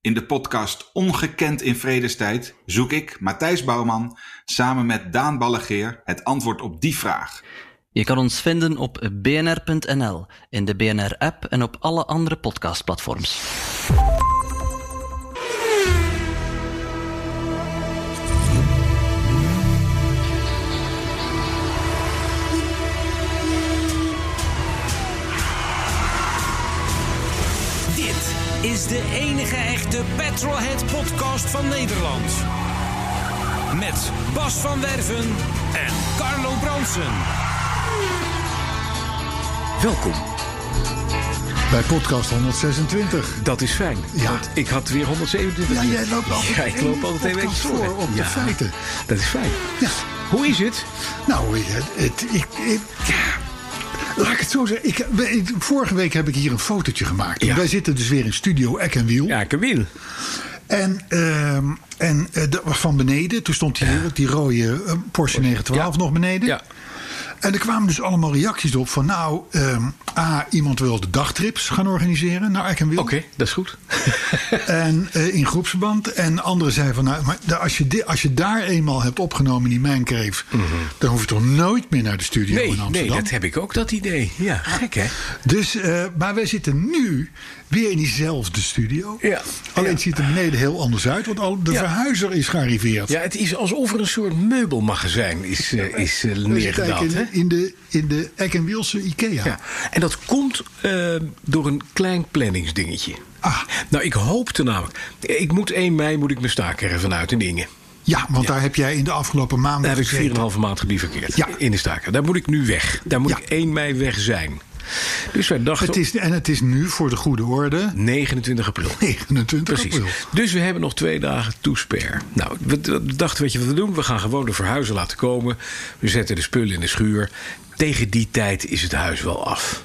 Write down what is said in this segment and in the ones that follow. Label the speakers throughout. Speaker 1: In de podcast Ongekend in Vredestijd zoek ik, Matthijs Bouwman, samen met Daan Ballegeer het antwoord op die vraag.
Speaker 2: Je kan ons vinden op bnr.nl, in de BNR-app en op alle andere podcastplatforms.
Speaker 3: Dit is de enige echte Petrolhead podcast van Nederland. Met Bas van Werven en Carlo Bronsen.
Speaker 4: Welkom,
Speaker 5: Bij podcast 126.
Speaker 4: dat is fijn.
Speaker 5: Ja.
Speaker 4: Want ik had weer 127.
Speaker 5: Ja, jij loopt altijd
Speaker 4: Ja, ik
Speaker 5: één
Speaker 4: loop altijd een week
Speaker 5: podcast
Speaker 4: voor.
Speaker 5: voor op de
Speaker 4: Ja.
Speaker 5: feiten.
Speaker 4: Dat is fijn.
Speaker 5: Ja.
Speaker 4: Hoe is het?
Speaker 5: Nou, het, het- ik, ik- ja. Laat ik het zo zeggen. Ik, ik- vorige week heb ik hier een fotootje gemaakt.
Speaker 4: Ja.
Speaker 5: Wij zitten dus weer in studio Eck en Wiel.
Speaker 4: ik wil.
Speaker 5: En, ehm, en eh, dat was van beneden. Toen stond die, die rode eh, Porsche 912 nog beneden.
Speaker 4: Ja.
Speaker 5: En er kwamen dus allemaal reacties op van... nou, ehm, A, iemand wil de dagtrips gaan organiseren naar Eck en Wiel.
Speaker 4: Oké, dat is goed.
Speaker 5: En eh, in groepsverband. En anderen zeiden van, nou, maar da- als je, di- als je daar eenmaal hebt opgenomen in die mijncreef... dan hoef je toch nooit meer naar de studio
Speaker 4: Mhm. Nee,
Speaker 5: in
Speaker 4: nee,
Speaker 5: Amsterdam.
Speaker 4: dat heb ik ook, dat idee. Ja, gek hè?
Speaker 5: Dus, eh, maar wij zitten nu weer in diezelfde studio.
Speaker 4: Ja.
Speaker 5: Alleen
Speaker 4: Ja.
Speaker 5: het ziet er beneden heel anders uit, want al de
Speaker 4: Ja.
Speaker 5: verhuizer is gearriveerd.
Speaker 4: Ja, het is alsof er een soort meubelmagazijn is, eh, is eh,
Speaker 5: We zitten
Speaker 4: neergedaald. hè?
Speaker 5: eigenlijk Dus in, in de, in de Eck en Wielse Ikea.
Speaker 4: Ja. En dat komt eh, door een klein planningsdingetje.
Speaker 5: Ah.
Speaker 4: Nou, ik hoopte namelijk. Ik moet 1 mei moet ik mijn staakerven vanuit in Dingen.
Speaker 5: Ja, want daar heb jij in de afgelopen maanden
Speaker 4: Daar heb
Speaker 5: gezeten.
Speaker 4: ik 4,5 maand gedivikeerd.
Speaker 5: Ja.
Speaker 4: In de staker. Daar moet ik nu weg. Daar moet
Speaker 5: Ja.
Speaker 4: ik 1 mei weg zijn. Dus wij dachten
Speaker 5: het is, En het is nu voor de goede orde
Speaker 4: 29 april.
Speaker 5: 29
Speaker 4: Precies.
Speaker 5: april.
Speaker 4: Dus we hebben nog twee dagen toesper. Nou, we d- we dachten, weet je wat we doen? We gaan gewoon de verhuizer laten komen. We zetten de spullen in de schuur. Tegen die tijd is het huis wel af.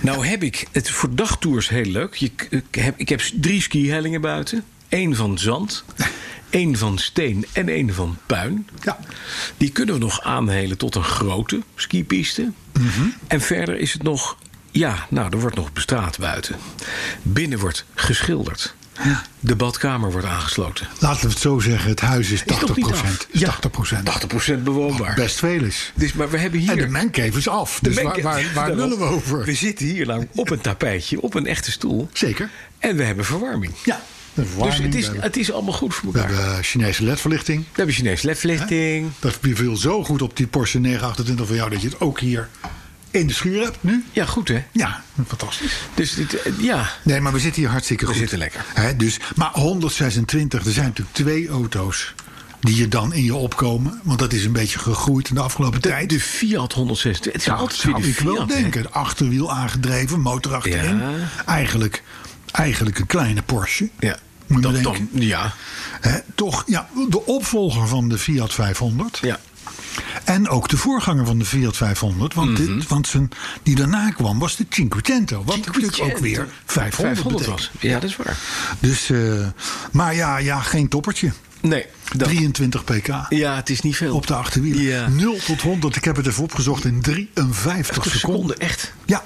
Speaker 4: Nou heb ik het voor dagtours heel leuk. Je, k- ik, heb, ik heb s- drie skihellingen buiten. Eén van zand, één van steen en één van puin.
Speaker 5: Ja.
Speaker 4: Die kunnen we nog aanhelen tot een grote skipiste.
Speaker 5: Mhm.
Speaker 4: En verder is het nog... Ja, nou, er wordt nog bestraat buiten. Binnen wordt geschilderd. De badkamer wordt aangesloten.
Speaker 5: Laten we het zo zeggen, het huis is 80%.
Speaker 4: Is nog niet af.
Speaker 5: Is
Speaker 4: Ja,
Speaker 5: 80%.
Speaker 4: 80% bewoonbaar.
Speaker 5: Best veel is.
Speaker 4: Dus, maar we hebben hier...
Speaker 5: En de mancave is af.
Speaker 4: de
Speaker 5: Dus waar,
Speaker 4: bank-
Speaker 5: waar, waar
Speaker 4: Daarom.
Speaker 5: lullen we over?
Speaker 4: We zitten hier namelijk op een tapijtje, op een echte stoel.
Speaker 5: Zeker.
Speaker 4: En we hebben verwarming.
Speaker 5: Ja. De
Speaker 4: Dus
Speaker 5: verwarming,
Speaker 4: het is,
Speaker 5: we hebben-
Speaker 4: het is allemaal goed voor
Speaker 5: we
Speaker 4: elkaar.
Speaker 5: hebben eh, Chinese ledverlichting.
Speaker 4: We hebben Chinese ledverlichting.
Speaker 5: Dat viel zo goed op die Porsche 928 van jou dat je het ook hier in de schuur hebt nu.
Speaker 4: Ja, goed hè?
Speaker 5: Ja, fantastisch.
Speaker 4: Dus dit, eh, ja,
Speaker 5: Nee, maar we zitten hier hartstikke
Speaker 4: We
Speaker 5: goed.
Speaker 4: zitten lekker.
Speaker 5: Hè, dus, maar 126, er zijn natuurlijk twee auto's die je dan in je opkomen. Want dat is een beetje gegroeid in de afgelopen
Speaker 4: de,
Speaker 5: tijd.
Speaker 4: de Fiat 160. Het is
Speaker 5: Nou,
Speaker 4: altijd weer de
Speaker 5: zou ik wel
Speaker 4: Fiat. hè?
Speaker 5: denken. Achterwiel aangedreven, motor achterin.
Speaker 4: Ja.
Speaker 5: Eigenlijk, eigenlijk een kleine Porsche.
Speaker 4: Ja.
Speaker 5: Moet je
Speaker 4: Dat
Speaker 5: maar
Speaker 4: dan,
Speaker 5: denken.
Speaker 4: ja.
Speaker 5: Hè, toch, ja, de opvolger van de Fiat 500.
Speaker 4: ja.
Speaker 5: En ook de voorganger van de Fiat 500. Want,
Speaker 4: Mhm.
Speaker 5: dit, want zijn, die daarna kwam was de Cinquecento. Wat natuurlijk ook weer 500,
Speaker 4: 500
Speaker 5: betekent.
Speaker 4: was. Ja, dat is waar.
Speaker 5: Dus, eh, maar ja, ja, geen toppertje.
Speaker 4: Nee. dat-
Speaker 5: 23 pk.
Speaker 4: ja, het is niet veel.
Speaker 5: Op de achterwielen.
Speaker 4: Ja.
Speaker 5: 0 tot 100, ik heb het even opgezocht, in 53
Speaker 4: Op
Speaker 5: seconden.
Speaker 4: een seconde, echt.
Speaker 5: Ja,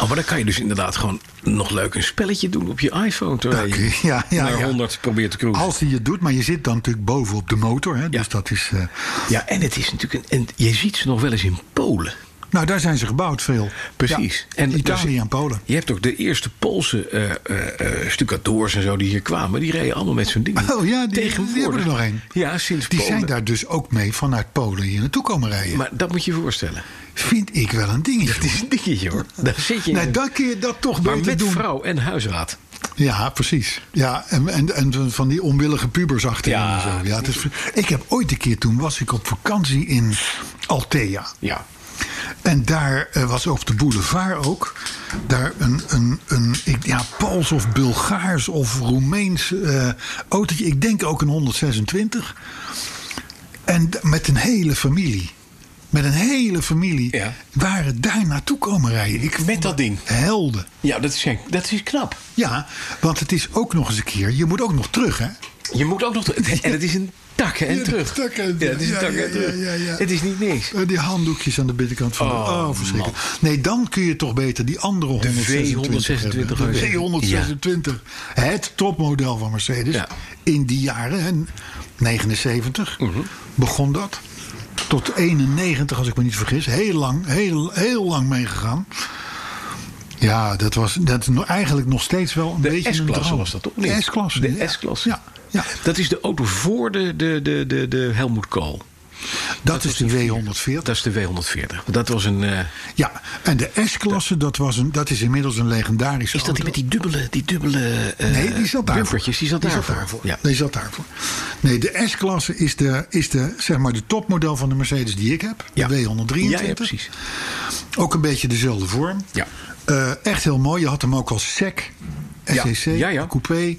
Speaker 4: Oh, maar dan kan je dus inderdaad gewoon nog leuk een spelletje doen op je iPhone. Terwijl
Speaker 5: Dank
Speaker 4: je
Speaker 5: u. Ja, ja,
Speaker 4: naar
Speaker 5: ja.
Speaker 4: 100 probeert te cruisen.
Speaker 5: als hij het doet, maar je zit dan natuurlijk boven op de motor. Hè, Dus
Speaker 4: Ja.
Speaker 5: dat is. eh,
Speaker 4: Ja, en het is natuurlijk... Een, en je ziet ze nog wel eens in Polen.
Speaker 5: nou, daar zijn ze gebouwd veel.
Speaker 4: Precies.
Speaker 5: Ja,
Speaker 4: En-
Speaker 5: Italië en Polen.
Speaker 4: Je hebt ook de eerste Poolse eh eh, eh, stucadoors en zo die hier kwamen. Die reden allemaal met zo'n ding.
Speaker 5: Oh ja, die- die,
Speaker 4: Tegenwoordig-
Speaker 5: hebben er nog een.
Speaker 4: Ja, sinds
Speaker 5: Die
Speaker 4: Polen.
Speaker 5: zijn daar dus ook mee vanuit Polen hier naartoe komen rijden.
Speaker 4: Maar dat moet je je voorstellen.
Speaker 5: Vind ik wel een dingetje.
Speaker 4: Het is een dingetje hoor. Daar zit je in.
Speaker 5: Nee, dan kun je dat toch
Speaker 4: maar
Speaker 5: beter
Speaker 4: met
Speaker 5: doen.
Speaker 4: vrouw en huisraad.
Speaker 5: Ja, precies. Ja, en, en, en van die onwillige pubers achterin
Speaker 4: Ja,
Speaker 5: en zo. Ja, het is, ik heb ooit een keer, toen was ik op vakantie in Altea.
Speaker 4: Ja.
Speaker 5: En daar eh, was op de boulevard ook. Daar een, een, een ik, ja, Pools of Bulgaars of Roemeens eh autootje. Ik denk ook een 126. En d- met een hele familie. met een hele familie
Speaker 4: Ja.
Speaker 5: waren daar naartoe komen rijden. Ik vond
Speaker 4: dat ding.
Speaker 5: Helden.
Speaker 4: Ja, dat is, dat is knap.
Speaker 5: Ja, want het is ook nog eens een keer. Je moet ook nog terug, hè?
Speaker 4: Je moet ook nog. En het is een takken en
Speaker 5: Ja,
Speaker 4: terug.
Speaker 5: takken en
Speaker 4: Ja,
Speaker 5: terug.
Speaker 4: het is een
Speaker 5: Ja,
Speaker 4: takken
Speaker 5: ja,
Speaker 4: en terug.
Speaker 5: ja, ja, ja.
Speaker 4: Het is niet niks.
Speaker 5: Eh, Die handdoekjes aan de binnenkant van de...
Speaker 4: Oh,
Speaker 5: Oh, verschrikkelijk. Nee, dan kun je toch beter die andere 126 hebben.
Speaker 4: V126.
Speaker 5: De V126. Het topmodel van Mercedes.
Speaker 4: Ja.
Speaker 5: In die jaren, hè, 79,
Speaker 4: Mhm.
Speaker 5: begon dat. Tot 91, als ik me niet vergis. Heel lang, heel, heel lang meegegaan. Ja, dat was dat is no- eigenlijk nog steeds wel een beetje
Speaker 4: De
Speaker 5: een
Speaker 4: S-klasse
Speaker 5: droom.
Speaker 4: was dat toch?
Speaker 5: De S-klasse.
Speaker 4: De
Speaker 5: ja.
Speaker 4: S-klasse.
Speaker 5: Ja, ja.
Speaker 4: Dat is de auto voor de, de, de, de, de Helmut Kool.
Speaker 5: Dat, is de
Speaker 4: Dat
Speaker 5: W140.
Speaker 4: is de W140. Dat was een. eh,
Speaker 5: Ja, en de S-klasse, dat, was een- dat is inmiddels een legendarische
Speaker 4: is dat die
Speaker 5: auto.
Speaker 4: met die dubbele. Die dubbele eh,
Speaker 5: Nee, die zat daarvoor.
Speaker 4: bumpertjes, Die zat daarvoor. Ja.
Speaker 5: Die zat daarvoor. Nee, de S-klasse is, de, is de, zeg maar de topmodel van de Mercedes die ik heb. De
Speaker 4: Ja.
Speaker 5: W123.
Speaker 4: Ja, ja, precies.
Speaker 5: Ook een beetje dezelfde vorm.
Speaker 4: Ja.
Speaker 5: Eh, echt heel mooi. Je had hem ook als E SEC.
Speaker 4: Ja.
Speaker 5: SEC,
Speaker 4: Ja, ja.
Speaker 5: E coupé.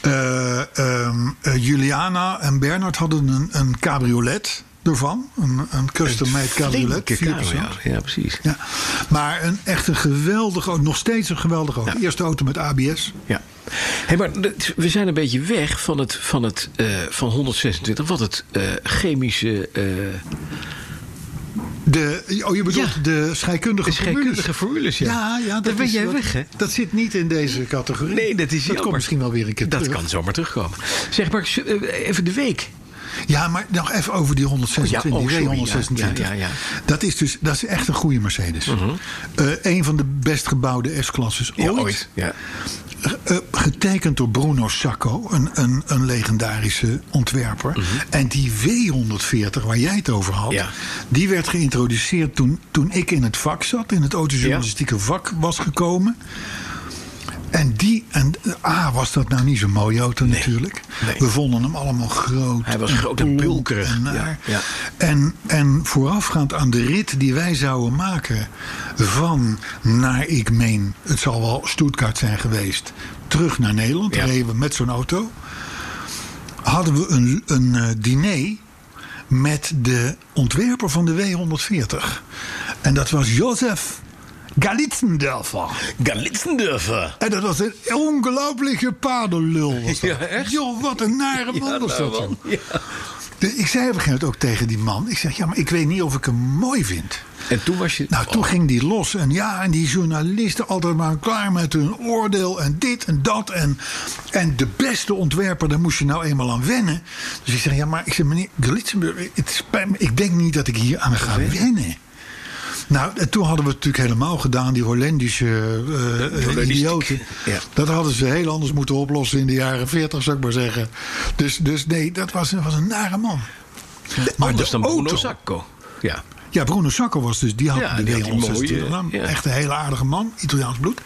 Speaker 5: Eh, ehm, eh, Juliana en Bernard hadden een, een cabriolet ervan. Een, een custom-made cabriolet.
Speaker 4: Flinke
Speaker 5: vier
Speaker 4: kabel, ja.
Speaker 5: persoons.
Speaker 4: ja, precies.
Speaker 5: Ja. Maar een, echt een geweldige auto. Nog steeds een geweldige auto.
Speaker 4: Ja.
Speaker 5: Eerste auto met ABS.
Speaker 4: Ja. Hey, maar dat- we zijn een beetje weg van het, van het eh, van 126, wat het eh, chemische eh,
Speaker 5: De, oh, je bedoelt
Speaker 4: Ja.
Speaker 5: de scheikundige
Speaker 4: De scheikundige formules, ja.
Speaker 5: Ja, ja
Speaker 4: Daar
Speaker 5: dat
Speaker 4: ben
Speaker 5: is-
Speaker 4: jij
Speaker 5: dat-
Speaker 4: weg, hè?
Speaker 5: Dat zit niet in deze categorie.
Speaker 4: Nee, dat is
Speaker 5: Dat
Speaker 4: jammer.
Speaker 5: komt misschien wel weer een keer
Speaker 4: Dat
Speaker 5: terug.
Speaker 4: kan zomaar terugkomen. Zeg maar, z- eh, even de week.
Speaker 5: Ja, maar nog even over die 126,
Speaker 4: Oh ja, oh,
Speaker 5: die
Speaker 4: sorry, ja,
Speaker 5: W126.
Speaker 4: ja, ja, ja.
Speaker 5: Dat is dus dat is echt een goede Mercedes. Eh, een van de best gebouwde S-klasses ooit.
Speaker 4: Ja.
Speaker 5: Eh, getekend door Bruno Sacco, een, een, een legendarische ontwerper. En die W140, waar jij het over had,
Speaker 4: Mhm. Ja.
Speaker 5: die werd geïntroduceerd toen, toen ik in het vak zat, in het autojournalistieke vak was gekomen. En die, en eh, ah, was dat nou niet zo'n mooie auto natuurlijk.
Speaker 4: nee.
Speaker 5: We vonden hem allemaal groot.
Speaker 4: Hij was
Speaker 5: en
Speaker 4: groot en
Speaker 5: plomp
Speaker 4: bulkerig.
Speaker 5: En,
Speaker 4: Ja,
Speaker 5: naar.
Speaker 4: ja.
Speaker 5: En, en voorafgaand aan de rit die wij zouden maken van naar ik meen, het zal wel Stuttgart zijn geweest, terug naar Nederland,
Speaker 4: Ja.
Speaker 5: reden we met zo'n auto, hadden we een, een eh, diner met de ontwerper van de W140. En dat was Jozef Galitzendorfer.
Speaker 4: Galitsendurfer.
Speaker 5: En dat was een ongelooflijke padelul. Was dat.
Speaker 4: Ja, echt?
Speaker 5: Joh, wat een nare man was dat.
Speaker 4: nou,
Speaker 5: joh. De- Ik zei op een gegeven moment ook tegen die man. Ik zeg, ja, maar ik weet niet of ik hem mooi vind.
Speaker 4: En toen was je...
Speaker 5: Nou, toen
Speaker 4: Oh,
Speaker 5: ging die los. En ja, en die journalisten altijd maar klaar met hun oordeel. En dit en dat. En, en de beste ontwerper, daar moest je nou eenmaal aan wennen. Dus ik zeg, ja, maar ik zeg, meneer Glitzenburg, het spijt me. Ik denk niet dat ik hier aan ga wennen. Nou, en toen hadden we het natuurlijk helemaal gedaan. Die Hollandische eh, eh,
Speaker 4: Hollandistiek.
Speaker 5: idioten.
Speaker 4: Ja.
Speaker 5: Dat hadden ze heel anders moeten oplossen in de jaren 40, zou ik maar zeggen. Dus, dus nee, dat was, was een nare man.
Speaker 4: Oh, anders dan Bruno
Speaker 5: auto-
Speaker 4: Sacco. Ja.
Speaker 5: ja, Bruno Sacco was dus, die had
Speaker 4: Ja,
Speaker 5: de
Speaker 4: die had die
Speaker 5: W126
Speaker 4: mooie,
Speaker 5: naam.
Speaker 4: ja.
Speaker 5: Echt een hele aardige man, Italiaans bloed.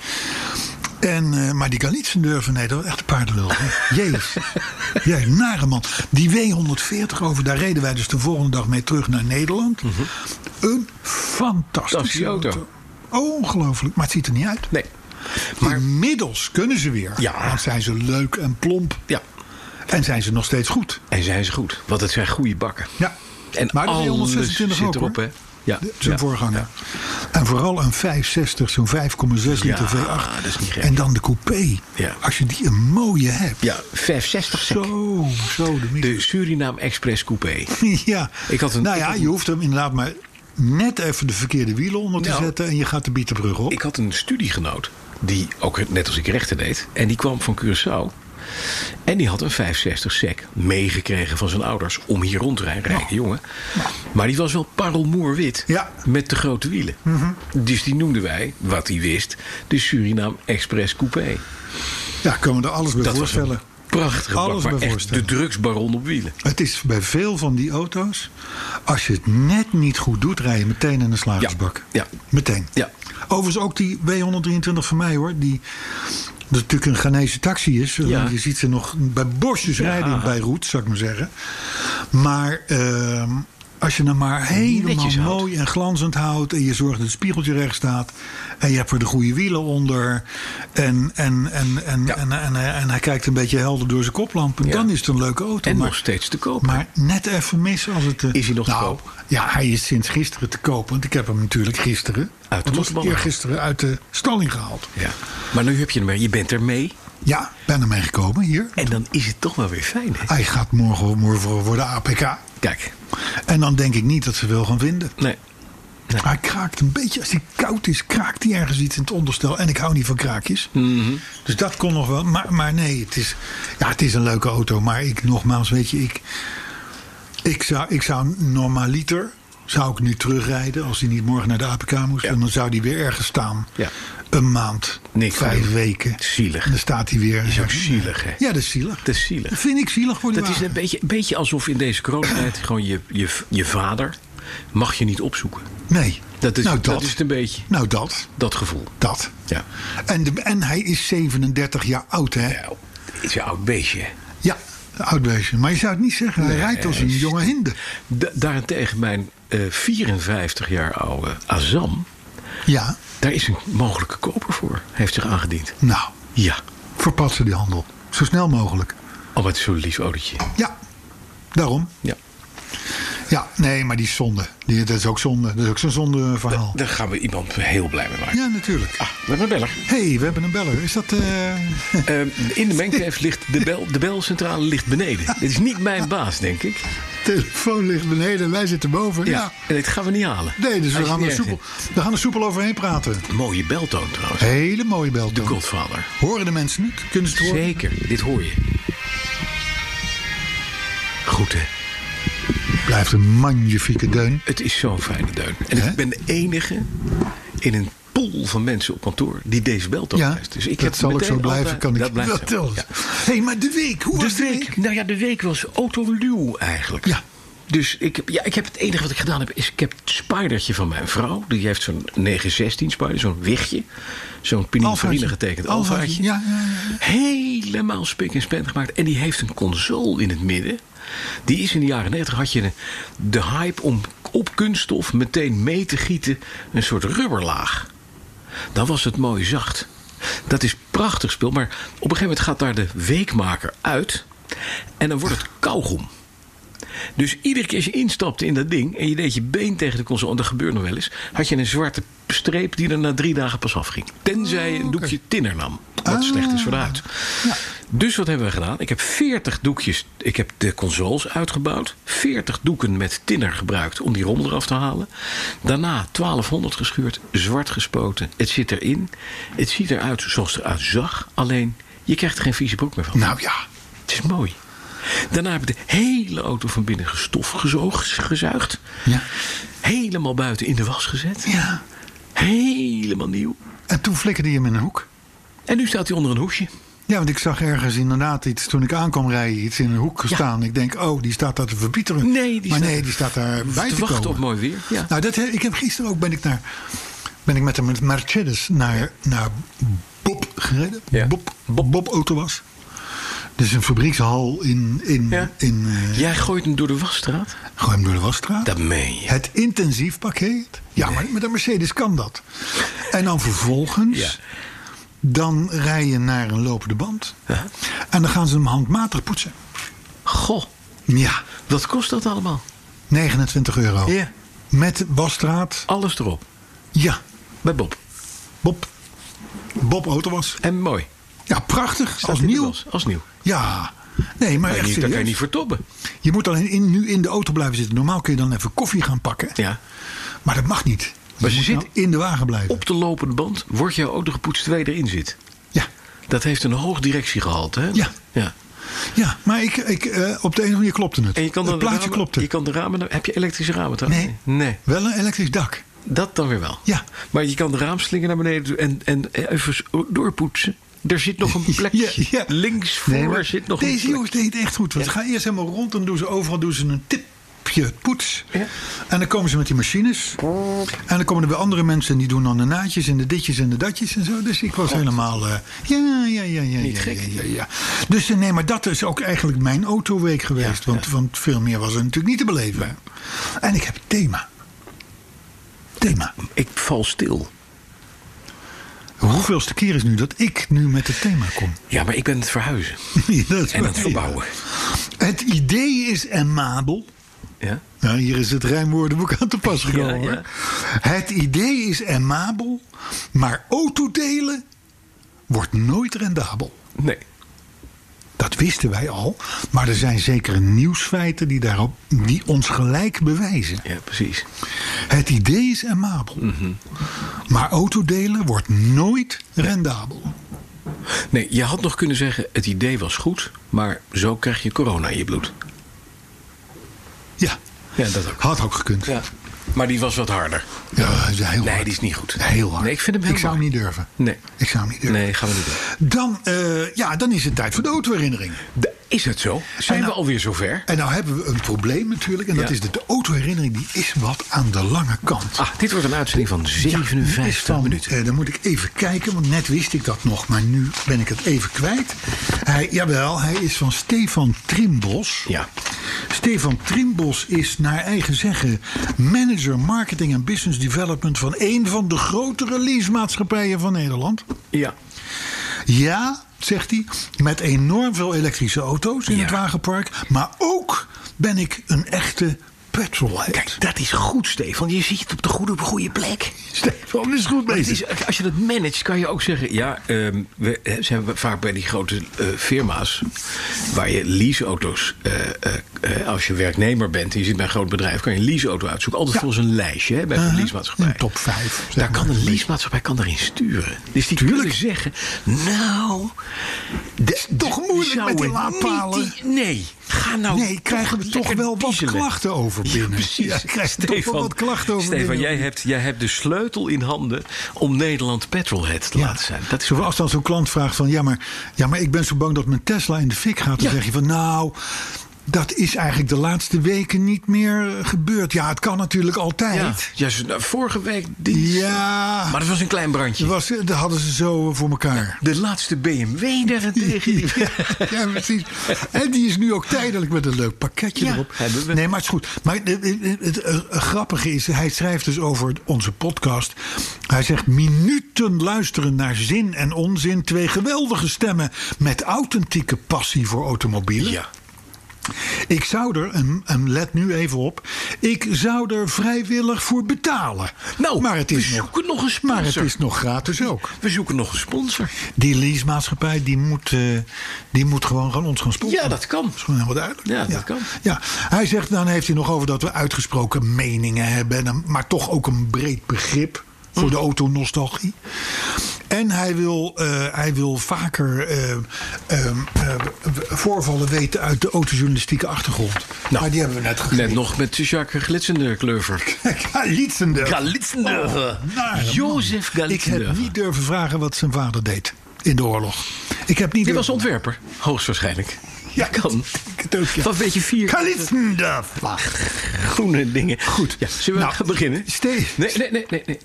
Speaker 5: En, eh, maar die Galitsendurven, nee, dat was echt een paardenlul. hè. Jezus. Jij, nare man. Die W140 over, daar reden wij dus de volgende dag mee terug naar Nederland. Een fantastische
Speaker 4: Mhm. Fantastische auto.
Speaker 5: auto. Ongelooflijk, maar het ziet er niet uit.
Speaker 4: Nee.
Speaker 5: Maar inmiddels kunnen ze weer.
Speaker 4: Ja.
Speaker 5: Want zijn ze leuk en plomp.
Speaker 4: Ja.
Speaker 5: En zijn ze nog steeds goed.
Speaker 4: En zijn ze goed. Want het zijn goede bakken.
Speaker 5: Ja.
Speaker 4: En
Speaker 5: maar de
Speaker 4: alles
Speaker 5: 126
Speaker 4: zit
Speaker 5: ook,
Speaker 4: erop,
Speaker 5: hoor.
Speaker 4: hè? Ja.
Speaker 5: De- zijn
Speaker 4: Ja.
Speaker 5: voorganger. En vooral een 560, zo'n 5,6 liter
Speaker 4: Ja,
Speaker 5: V8.
Speaker 4: dat is niet gek.
Speaker 5: En dan de coupé.
Speaker 4: Ja.
Speaker 5: Als je die een mooie hebt.
Speaker 4: Ja, 560 sec.
Speaker 5: Zo, zo de
Speaker 4: De Suriname Express Coupé.
Speaker 5: Ja.
Speaker 4: Ik had een-
Speaker 5: nou
Speaker 4: ik
Speaker 5: ja,
Speaker 4: had een-
Speaker 5: je hoeft hem inderdaad maar net even de verkeerde wielen onder te
Speaker 4: Nou.
Speaker 5: zetten. En je gaat de Bietenbrug op.
Speaker 4: Ik had een studiegenoot. Die ook net als ik rechten deed. En die kwam van Curaçao. En die had een 560 sec meegekregen van zijn ouders. Om hier rond te rijden. Rijke jongen. Maar die was wel parelmoerwit.
Speaker 5: Nou. Ja. Mhm.
Speaker 4: Met de grote wielen. Dus die noemden wij, wat hij wist, de Suriname Express Coupé.
Speaker 5: Ja, kunnen we er alles bij
Speaker 4: Dat was
Speaker 5: voorstellen.
Speaker 4: een prachtige
Speaker 5: Alles
Speaker 4: bak.
Speaker 5: bij
Speaker 4: Maar echt de
Speaker 5: voorstellen.
Speaker 4: drugsbaron op wielen.
Speaker 5: Het is bij veel van die auto's. Als je het net niet goed doet, rij je meteen in de slagersbak.
Speaker 4: Ja, ja.
Speaker 5: Meteen.
Speaker 4: Ja.
Speaker 5: Overigens ook die W123 van mij hoor. Die dat natuurlijk een Ghanese taxi is.
Speaker 4: Ja.
Speaker 5: Je ziet ze nog bij bosjes rijden bij Roet, zou ik maar zeggen. Maar ehm, Als je hem maar helemaal
Speaker 4: Netjes houdt.
Speaker 5: mooi en glanzend houdt. En je zorgt dat het spiegeltje recht staat. En je hebt er de goede wielen onder. En, en, en, en, en, en, en- en hij kijkt een beetje helder door zijn koplampen. Dan is het een leuke auto.
Speaker 4: En
Speaker 5: maar,
Speaker 4: nog steeds te koop.
Speaker 5: maar net even mis als het... eh,
Speaker 4: Is hij nog te
Speaker 5: nou,
Speaker 4: koop?
Speaker 5: Ja, hij is sinds gisteren te koop. Want ik heb hem natuurlijk gisteren...
Speaker 4: Uit de
Speaker 5: wat was het,
Speaker 4: losballen.
Speaker 5: eergisteren uit de stalling gehaald.
Speaker 4: ja. maar nu heb je hem weer. Je bent er mee.
Speaker 5: Ja, ben ermee gekomen hier.
Speaker 4: En dan is het toch wel weer fijn, hè?
Speaker 5: Hij gaat morgen, morgen voor de APK.
Speaker 4: Kijk.
Speaker 5: En dan denk ik niet dat ze veel gaan vinden.
Speaker 4: Nee.
Speaker 5: Hij kraakt een beetje. Als hij koud is, kraakt hij ergens iets in het onderstel. En ik hou niet van kraakjes.
Speaker 4: Mhm.
Speaker 5: Dus dat kon nog wel. Maar, maar nee, het is, ja, het is een leuke auto. Maar ik, nogmaals, weet je, ik, ik, zou, ik zou normaliter. Zou ik nu terugrijden als hij niet morgen naar de APK moest? En dan zou die weer ergens staan.
Speaker 4: Ja.
Speaker 5: Een maand,
Speaker 4: Niks
Speaker 5: vijf
Speaker 4: doen.
Speaker 5: weken.
Speaker 4: Zielig.
Speaker 5: En dan staat hij weer.
Speaker 4: is ook zielig, hè?
Speaker 5: Ja, dat is zielig.
Speaker 4: Dat is zielig.
Speaker 5: Dat vind ik zielig voor die
Speaker 4: Dat is
Speaker 5: wagen.
Speaker 4: een beetje, een beetje alsof in deze coronatijd gewoon je, je, je vader mag je niet opzoeken.
Speaker 5: Nee.
Speaker 4: Dat is,
Speaker 5: nou,
Speaker 4: dat is het een beetje
Speaker 5: Nou, dat.
Speaker 4: dat gevoel.
Speaker 5: Dat.
Speaker 4: Ja.
Speaker 5: En, de, en hij is 37 jaar oud, hè?
Speaker 4: Ja, is een oud beestje. hè?
Speaker 5: Ja, een oud beestje. Maar je zou het niet zeggen. Hij rijdt als een jonge hinde.
Speaker 4: Da- daarentegen mijn eh, 54 jaar oude Azam,
Speaker 5: Ja,
Speaker 4: daar is een mogelijke koper voor. Heeft zich aangediend.
Speaker 5: nou,
Speaker 4: Ja.
Speaker 5: verpatsen die handel. Zo snel mogelijk.
Speaker 4: Oh, wat is zo'n lief autootje.
Speaker 5: Ja, daarom.
Speaker 4: Ja.
Speaker 5: Ja, nee, maar die is zonde. Die, dat is ook zonde. Dat is ook zo'n zonde eh, verhaal.
Speaker 4: Oh. Daar gaan we iemand heel blij mee maken.
Speaker 5: Ja, natuurlijk.
Speaker 4: Ah, we hebben een beller.
Speaker 5: Hé, hey, we hebben een beller. Is dat... eh,
Speaker 4: Eh, in de mengtijf ligt de, bel, de belcentrale ligt beneden. Dit is niet mijn baas, denk ik.
Speaker 5: telefoon ligt beneden en wij zitten boven? Ja.
Speaker 4: En dit gaan we niet halen.
Speaker 5: Nee, dus
Speaker 4: Als
Speaker 5: we gaan,
Speaker 4: je het
Speaker 5: er
Speaker 4: niet
Speaker 5: soepel,
Speaker 4: erg
Speaker 5: we gaan er soepel overheen praten.
Speaker 4: vindt. Mooie beltoon trouwens.
Speaker 5: Hele mooie bel.
Speaker 4: De Godfather.
Speaker 5: Horen de mensen het? Kunnen ze het horen?
Speaker 4: Zeker, dit hoor je. Goed hè.
Speaker 5: Blijft een magnifieke deun.
Speaker 4: Het is zo'n fijne deun. En
Speaker 5: Hè?
Speaker 4: ik ben de enige in een pool van mensen op kantoor die deze beltoon
Speaker 5: Ja,
Speaker 4: luistert. Dus ik
Speaker 5: dat
Speaker 4: heb
Speaker 5: zal ook
Speaker 4: meteen
Speaker 5: zo blijven.
Speaker 4: altijd-
Speaker 5: Kan ik
Speaker 4: dat blijft zo,
Speaker 5: vertellen.
Speaker 4: ja.
Speaker 5: hey, maar de week. Hoe was
Speaker 4: de week, nou ja, de week was autoluw eigenlijk.
Speaker 5: Ja.
Speaker 4: Dus ik heb, ja, ik heb het enige wat ik gedaan heb, is ik heb het spidertje van mijn vrouw. Die heeft zo'n 916 spider, zo'n wichtje. Zo'n Pininfarina
Speaker 5: Alfaatje.
Speaker 4: getekend
Speaker 5: Alfaatje,
Speaker 4: alfaatje.
Speaker 5: ja, ja, ja,
Speaker 4: Helemaal spik en span gemaakt. En die heeft een console in het midden. Die is in de jaren 90 had je de, de hype om op kunststof meteen mee te gieten. Een soort rubberlaag dan was het mooi zacht. Dat is prachtig spul, maar op een gegeven moment gaat daar de weekmaker uit en dan wordt het kauwgom. Dus iedere keer als je instapte in dat ding en je deed je been tegen de console, en dat gebeurt nog wel eens, had je een zwarte streep die er na drie dagen pas afging. Tenzij je een doekje tinner nam, wat slecht is voor de huid. Dus wat hebben we gedaan? Ik heb 40 doekjes, ik heb de consoles uitgebouwd, 40 doeken met tinner gebruikt om die rommel eraf te halen. Daarna 1200 geschuurd, zwart gespoten. Het zit erin, het ziet eruit zoals het eruit zag, alleen je krijgt er geen vieze broek meer van.
Speaker 5: Nou ja.
Speaker 4: Het is mooi. Daarna heb ik de hele auto van binnen gestof gezoogd, gezuigd.
Speaker 5: Ja.
Speaker 4: Helemaal buiten in de was gezet.
Speaker 5: ja.
Speaker 4: Helemaal nieuw.
Speaker 5: En toen flikkerde je hem in een hoek.
Speaker 4: En nu staat hij onder een hoesje.
Speaker 5: Ja, want ik zag ergens inderdaad iets toen ik aankwam rijden, iets in een hoek staan. Ik denk, oh, die staat daar te verpieteren.
Speaker 4: Nee, die
Speaker 5: maar
Speaker 4: staat-
Speaker 5: nee, die staat daar bij
Speaker 4: te
Speaker 5: te,
Speaker 4: wachten
Speaker 5: komen.
Speaker 4: op mooi weer, ja.
Speaker 5: Nou, dat, he- ik heb gisteren ook ben ik naar ben ik met de Mercedes naar, naar Bob gereden.
Speaker 4: Ja.
Speaker 5: Bob, Bob, Bob auto was. Dus een fabriekshal in, in,
Speaker 4: Ja.
Speaker 5: in eh,
Speaker 4: Jij gooit hem door de wasstraat?
Speaker 5: gewoon door de wasstraat.
Speaker 4: Dat meen je.
Speaker 5: Het intensief pakket. Ja, maar met een Mercedes kan dat. En dan vervolgens.
Speaker 4: Ja.
Speaker 5: Dan rij je naar een lopende band. En dan gaan ze hem handmatig poetsen.
Speaker 4: Goh,
Speaker 5: Ja,
Speaker 4: wat kost dat allemaal?
Speaker 5: 29 euro.
Speaker 4: Ja.
Speaker 5: Met wasstraat.
Speaker 4: Alles erop.
Speaker 5: Ja,
Speaker 4: Bij Bob.
Speaker 5: Bob. Bob Autowas.
Speaker 4: En mooi.
Speaker 5: Ja, prachtig.
Speaker 4: Staat
Speaker 5: als
Speaker 4: in de
Speaker 5: nieuw.
Speaker 4: was, Als nieuw.
Speaker 5: Ja. Nee, maar
Speaker 4: Daar
Speaker 5: echt
Speaker 4: kan je- daar kan je
Speaker 5: serieus.
Speaker 4: niet voor toppen.
Speaker 5: Je moet alleen in, nu in de auto blijven zitten. Normaal kun je dan even koffie gaan pakken.
Speaker 4: Ja.
Speaker 5: Maar dat mag niet.
Speaker 4: Maar
Speaker 5: je
Speaker 4: ze
Speaker 5: moet
Speaker 4: zit
Speaker 5: nou in de wagen blijven.
Speaker 4: Op de lopende band wordt jouw auto gepoetst terwijl je erin zit.
Speaker 5: Ja.
Speaker 4: Dat heeft een hoog directiegehalte, hè?
Speaker 5: Ja.
Speaker 4: ja.
Speaker 5: Ja, maar ik, ik, eh, op de een of andere manier klopte het.
Speaker 4: En je kan
Speaker 5: het
Speaker 4: dan
Speaker 5: plaatje
Speaker 4: de ramen,
Speaker 5: klopte.
Speaker 4: Je kan de ramen. Heb je elektrische ramen trouwens?
Speaker 5: nee,
Speaker 4: Nee.
Speaker 5: Wel een elektrisch dak.
Speaker 4: Dat dan weer wel.
Speaker 5: Ja.
Speaker 4: Maar je kan de raamslingen naar beneden doen en, en even s- doorpoetsen. Er zit nog een plekje.
Speaker 5: Ja, ja.
Speaker 4: Links voor
Speaker 5: Nee, maar
Speaker 4: zit nog
Speaker 5: Deze
Speaker 4: een plek.
Speaker 5: jongens deed het echt goed. Want ze gaan eerst helemaal rond en doen ze overal doen ze een tip. je het poets. En dan komen ze met die machines. En dan komen er weer andere mensen en die doen dan de naadjes en de ditjes en de datjes en zo. Dus ik was helemaal. eh, ja, ja, ja, ja. ja, Ja, ja, ja. Dus eh, nee, maar dat is ook eigenlijk mijn autoweek geweest. want, want veel meer was er natuurlijk niet te beleven. En ik heb het thema. Thema.
Speaker 4: Ik val stil.
Speaker 5: Hoeveelste keer is nu dat ik nu met het thema kom?
Speaker 4: Ja, maar ik ben het verhuizen.
Speaker 5: Ja, dat is
Speaker 4: En
Speaker 5: waar,
Speaker 4: het
Speaker 5: ja.
Speaker 4: verbouwen.
Speaker 5: Het idee is amabel.
Speaker 4: Ja?
Speaker 5: Nou, hier is het rijmwoordenboek aan te pas gekomen.
Speaker 4: Ja, ja.
Speaker 5: hoor. Het idee is amabel, maar autodelen wordt nooit rendabel.
Speaker 4: Nee.
Speaker 5: Dat wisten wij al, maar er zijn zekere nieuwsfeiten die, daarop, die ons gelijk bewijzen.
Speaker 4: Ja, precies.
Speaker 5: Het idee is amabel,
Speaker 4: Mhm.
Speaker 5: maar autodelen wordt nooit rendabel.
Speaker 4: Nee, je had nog kunnen zeggen, het idee was goed, maar zo krijg je corona in je bloed.
Speaker 5: Ja,
Speaker 4: Ja, dat ook.
Speaker 5: had ook gekund. Ja,
Speaker 4: Ja. Maar die was wat harder.
Speaker 5: dat is heel hard.
Speaker 4: Nee, die is niet goed.
Speaker 5: Heel hard.
Speaker 4: Nee, ik vind hem heel
Speaker 5: Ik zou hem
Speaker 4: hard.
Speaker 5: niet durven.
Speaker 4: Nee.
Speaker 5: Ik zou hem niet durven.
Speaker 4: Nee, gaan we niet doen.
Speaker 5: Dan, eh, ja, dan is het tijd voor de autoherinnering.
Speaker 4: Da- Is het zo? Zijn
Speaker 5: En
Speaker 4: we
Speaker 5: nou-
Speaker 4: alweer zover?
Speaker 5: En nou hebben we een probleem natuurlijk. En dat
Speaker 4: Ja.
Speaker 5: is dat de autoherinnering die is wat aan de lange kant.
Speaker 4: Ah, dit wordt een uitzending van
Speaker 5: Ja, die is
Speaker 4: 57
Speaker 5: van,
Speaker 4: minuten.
Speaker 5: eh, dan moet ik even kijken, want net wist ik dat nog. Maar nu ben ik het even kwijt. Hij, jawel, hij is van Stefan Trimbos.
Speaker 4: Ja.
Speaker 5: Stefan Trimbos is naar eigen zeggen manager marketing en business development... van een van de grotere leasemaatschappijen van Nederland.
Speaker 4: Ja.
Speaker 5: Ja, zegt hij, met enorm veel elektrische auto's in
Speaker 4: Ja.
Speaker 5: het wagenpark. Maar ook ben ik een echte petrolhead.
Speaker 4: Kijk, dat is goed, Stefan. Je zit op de goede, op de goede plek.
Speaker 5: Stefan is goed
Speaker 4: Maar het
Speaker 5: bezig.
Speaker 4: is- als je dat managt, kan je ook zeggen... ja, ehm, we hè, zijn we vaak bij die grote eh, firma's... waar je leaseauto's... eh, eh, eh, als je werknemer bent en je zit bij een groot bedrijf... kan je een leaseauto uitzoeken. Altijd volgens een lijstje hè, bij een
Speaker 5: Uh-huh.
Speaker 4: leasemaatschappij.
Speaker 5: Een top vijf, zeg
Speaker 4: Dus Daar
Speaker 5: maar.
Speaker 4: kan een leasemaatschappij kan daarin sturen. Dus die kunnen zeggen... nou... de-
Speaker 5: is toch
Speaker 4: de-
Speaker 5: moeilijk
Speaker 4: zou
Speaker 5: met die
Speaker 4: het
Speaker 5: laadpalen?
Speaker 4: niet die- nee, ga nou...
Speaker 5: Nee, krijgen we toch
Speaker 4: lekker
Speaker 5: wel wat
Speaker 4: dieselen.
Speaker 5: klachten over
Speaker 4: Ja,
Speaker 5: binnen.
Speaker 4: precies.
Speaker 5: Ja, krijg je toch wel wat klachten over
Speaker 4: Stefan,
Speaker 5: binnen.
Speaker 4: jij hebt, jij hebt de sleutel in handen om Nederland petrolhead te laten zijn. Dat is
Speaker 5: Zoals dan zo'n klant vraagt van... Ja maar, ja, maar ik ben zo bang dat mijn Tesla in de fik gaat. Dan
Speaker 4: Ja.
Speaker 5: zeg je van, nou... Dat is eigenlijk de laatste weken niet meer eh, gebeurd. Ja, het kan natuurlijk
Speaker 4: ja,
Speaker 5: altijd.
Speaker 4: ja, ze- nou, vorige week die.
Speaker 5: Ja,
Speaker 4: Maar dat was een klein brandje.
Speaker 5: dat, was, dat hadden ze zo eh, voor elkaar.
Speaker 4: De laatste BMW daarentegen. die-
Speaker 5: Ja, ja, precies. En die is nu ook tijdelijk met een leuk pakketje
Speaker 4: Ja,
Speaker 5: erop.
Speaker 4: hebben we.
Speaker 5: Nee, maar het is goed. Maar het, het- het- het, eh, grappige is, hij schrijft dus over onze podcast. Hij zegt minuten luisteren naar zin en onzin. Twee geweldige stemmen met authentieke passie voor automobielen.
Speaker 4: Ja.
Speaker 5: Ik zou er, en, en let nu even op, ik zou er vrijwillig voor betalen.
Speaker 4: Nou,
Speaker 5: maar het is
Speaker 4: we
Speaker 5: nog,
Speaker 4: zoeken nog een sponsor.
Speaker 5: maar het is nog gratis ook.
Speaker 4: We zoeken nog een sponsor.
Speaker 5: Die leasemaatschappij die moet, eh, die moet gewoon gaan ons gaan sponsoren.
Speaker 4: Ja, dat kan.
Speaker 5: Dat is gewoon helemaal duidelijk.
Speaker 4: Ja, dat kan.
Speaker 5: Ja. Hij zegt, dan heeft hij nog over dat we uitgesproken meningen hebben. en een- Maar toch ook een breed begrip voor de autonostalgie. En hij wil, eh, hij wil vaker eh, ehm, eh, voorvallen weten uit de autojournalistieke achtergrond. maar die hebben we net
Speaker 4: Nou, Net
Speaker 5: gegeven.
Speaker 4: nog met Jacques Glitsende Kleuver.
Speaker 5: Galitzende.
Speaker 4: Glitsende.
Speaker 5: Nare man.
Speaker 4: Jozef
Speaker 5: Oh, nou, Ik heb
Speaker 4: Glitsende.
Speaker 5: niet durven vragen wat zijn vader deed in de oorlog. Ik heb niet durven-
Speaker 4: Dit was ontwerper, hoogstwaarschijnlijk.
Speaker 5: Ja,
Speaker 4: Dat kan.
Speaker 5: ik denk het ook, ja.
Speaker 4: Van beetje vier
Speaker 5: Kalitsndaf.
Speaker 4: groene dingen. Goed. Ja, zullen we
Speaker 5: Nou,
Speaker 4: gaan beginnen?
Speaker 5: Steve.
Speaker 4: Nee, nee, nee, nee. nee.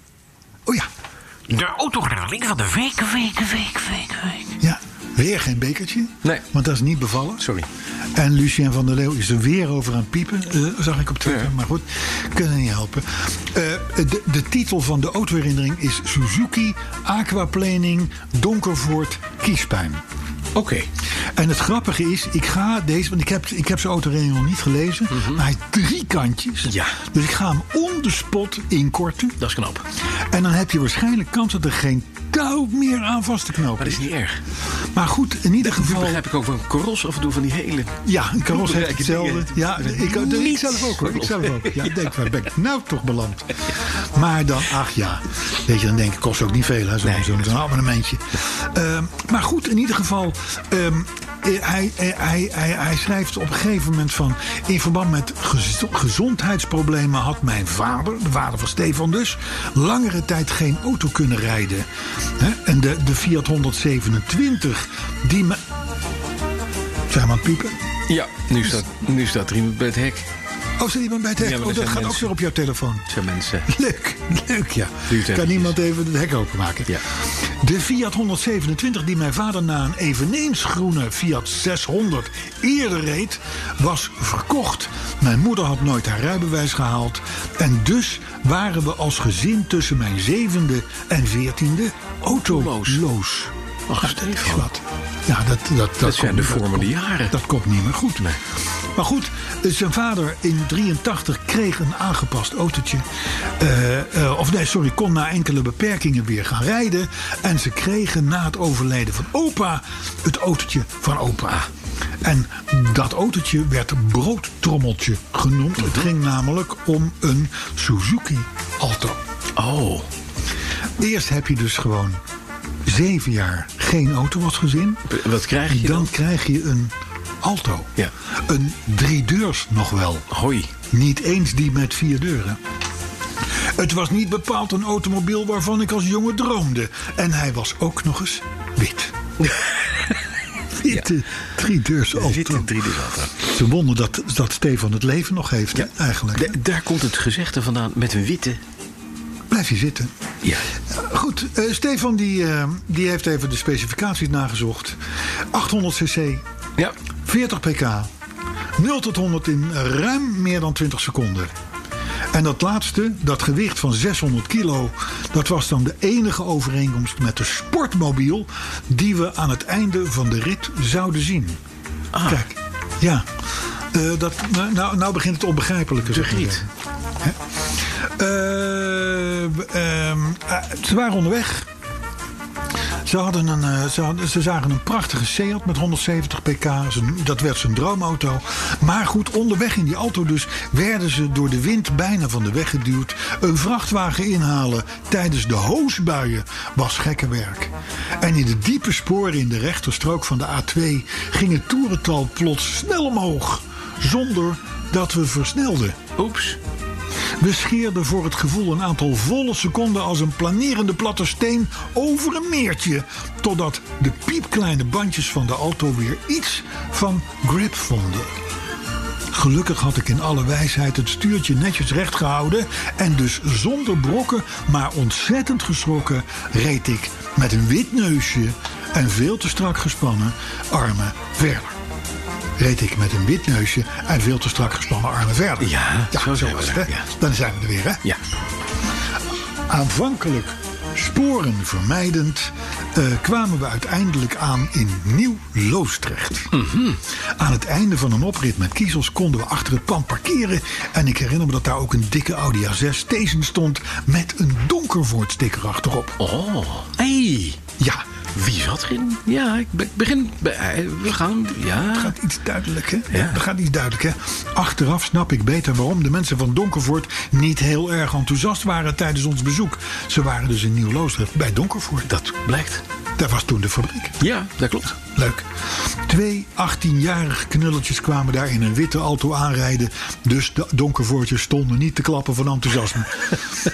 Speaker 5: Oh ja.
Speaker 6: De autoherinnering van de week, week, week, week, week.
Speaker 5: ja. Weer geen bekertje.
Speaker 4: Nee.
Speaker 5: Want dat is niet bevallen.
Speaker 4: Sorry.
Speaker 5: En Lucien van der Leeuw is er weer over aan het piepen. eh, zag ik op Twitter.
Speaker 4: Ja.
Speaker 5: Maar goed, kunnen niet helpen. Eh, de, de titel van de autoherinnering is Suzuki Aquaplaning Donkervoort Kiespijn.
Speaker 4: Oké.
Speaker 5: En het grappige is, ik ga deze, want ik heb, ik heb zijn autoherinnering nog niet gelezen. Maar hij heeft drie kantjes.
Speaker 4: Mhm. Ja.
Speaker 5: Dus ik ga hem on the spot inkorten.
Speaker 4: Dat is knap.
Speaker 5: En dan heb je waarschijnlijk kans dat er geen touw meer aan vast te knopen
Speaker 4: Maar dat is niet erg.
Speaker 5: Oh. Maar goed, in ieder
Speaker 4: Nu
Speaker 5: geval.
Speaker 4: begrijp ik ook wel een koros af en toe van die hele...
Speaker 5: Ja, een karos heeft
Speaker 4: Belangrijke
Speaker 5: hetzelfde.
Speaker 4: dingen.
Speaker 5: Ja, ik, ik, ik zelf ook hoor. Ik zelf ook. Ja, ik denk, waar ben ik nou toch beland? Maar dan, ach ja. Weet je, dan denk ik, kost ook niet veel, hè, zo'n
Speaker 4: Nee,
Speaker 5: zo'n- zo'n abonnementje. Ehm, maar goed, in ieder geval. ehm, eh, hij, eh, hij, hij, hij schrijft op een gegeven moment van. In verband met gez- gezondheidsproblemen had mijn vader, de vader van Stefan dus, langere tijd geen auto kunnen rijden. Hè? En de, de Fiat 127, die me. Zijn we aan het piepen?
Speaker 4: Ja, nu staat, nu staat er iemand bij het hek.
Speaker 5: Oh, zit iemand bij het hek?
Speaker 4: Ja, maar
Speaker 5: oh, dat
Speaker 4: dat zijn
Speaker 5: gaat ook
Speaker 4: mensen.
Speaker 5: weer op jouw telefoon.
Speaker 4: Het zijn mensen.
Speaker 5: Leuk, leuk ja.
Speaker 4: Duurt
Speaker 5: Kan
Speaker 4: eventjes.
Speaker 5: iemand even het hek openmaken?
Speaker 4: Ja.
Speaker 5: De Fiat 127 die mijn vader na een eveneens groene Fiat 600 eerder reed, was verkocht. Mijn moeder had nooit haar rijbewijs gehaald. En dus waren we als gezin tussen mijn zevende en veertiende autoloos.
Speaker 4: Ach,
Speaker 5: Nou, dat is
Speaker 4: Stefan.
Speaker 5: wat. Ja, dat, dat, dat,
Speaker 4: Dat zijn
Speaker 5: komt-
Speaker 4: de vormende
Speaker 5: komt-
Speaker 4: jaren.
Speaker 5: Dat komt niet meer goed. mee. Maar goed, eh, zijn vader in 83 kreeg een aangepast autootje. Eh, eh, of nee, sorry, kon na enkele beperkingen weer gaan rijden. En ze kregen na het overlijden van opa het autootje van opa. En dat autootje werd broodtrommeltje genoemd. Het ging namelijk om een Suzuki Alto.
Speaker 4: Oh,
Speaker 5: Eerst heb je dus gewoon zeven jaar geen auto als gezin.
Speaker 4: B- wat krijg je
Speaker 5: dan?
Speaker 4: dan?
Speaker 5: krijg je een Alto.
Speaker 4: Ja.
Speaker 5: Een driedeurs nog wel.
Speaker 4: hoi.
Speaker 5: Niet eens die met vier deuren. Het was niet bepaald een automobiel waarvan ik als jongen droomde. En hij was ook nog eens wit. Witte driedeurs Alto.
Speaker 4: Witte driedeurs Alto.
Speaker 5: Ze wonder dat, dat Stefan het leven nog heeft, hè, eigenlijk.
Speaker 4: Da- daar komt het gezegde vandaan met een witte.
Speaker 5: Blijf je zitten.
Speaker 4: Ja.
Speaker 5: Goed, eh, Stefan die, eh, die heeft even de specificaties nagezocht. 800 cc,
Speaker 4: Ja.
Speaker 5: 40 pk, 0 tot 100 in ruim meer dan 20 seconden. En dat laatste, dat gewicht van 600 kilo, dat was dan de enige overeenkomst met de sportmobiel die we aan het einde van de rit zouden zien. Kijk, ja. Eh, dat, nou, nou, nou begint het onbegrijpelijke. zeg maar.
Speaker 4: griet.
Speaker 5: Hè? Eh, ehm, eh, ze waren onderweg. Ze, hadden een, eh, ze, hadden- ze zagen een prachtige Seat met 170 pk. Zijn- Dat werd zijn droomauto. Maar goed, onderweg in die auto dus werden ze door de wind bijna van de weg geduwd. Een vrachtwagen inhalen tijdens de hoosbuien was gekke werk. En in de diepe sporen in de rechterstrook van de A2 ging het toerental plots snel omhoog. Zonder dat we versnelden.
Speaker 4: Oeps.
Speaker 5: We scheerden voor het gevoel een aantal volle seconden als een planerende platte steen over een meertje. Totdat de piepkleine bandjes van de auto weer iets van grip vonden. Gelukkig had ik in alle wijsheid het stuurtje netjes recht gehouden. En dus zonder brokken, maar ontzettend geschrokken, reed ik met een wit neusje en veel te strak gespannen armen verder. Reed ik met een wit neusje en veel te strak gespannen armen verder.
Speaker 4: Ja, zo zijn we
Speaker 5: was
Speaker 4: er,
Speaker 5: het, hè?
Speaker 4: ja.
Speaker 5: Dan zijn we er weer, hè?
Speaker 4: Ja.
Speaker 5: Aanvankelijk sporen vermijdend eh, kwamen we uiteindelijk aan in Nieuw-Loostrecht. Aan het einde van een oprit met kiezels konden we achter het pand parkeren. En ik herinner me dat daar ook een dikke Audi A6 station stond met een donkervoort sticker achterop.
Speaker 4: Oh. Hey.
Speaker 5: Ja,
Speaker 4: Wie zat erin? Ja, ik be- begin. bij- eh, We gaan. Ja.
Speaker 5: gaat iets duidelijk, hè?
Speaker 4: Ja.
Speaker 5: Dat gaat iets duidelijk, hè? Achteraf snap ik beter waarom de mensen van Donkervoort niet heel erg enthousiast waren tijdens ons bezoek. Ze waren dus in Nieuw-Loosdrecht bij Donkervoort. Dat,
Speaker 4: Blijkt.
Speaker 5: daar was toen de fabriek.
Speaker 4: Ja, dat klopt.
Speaker 5: Leuk. Twee 18-jarige knulletjes kwamen daar in een witte auto aanrijden. Dus de donkervoortjes stonden niet te klappen van enthousiasme.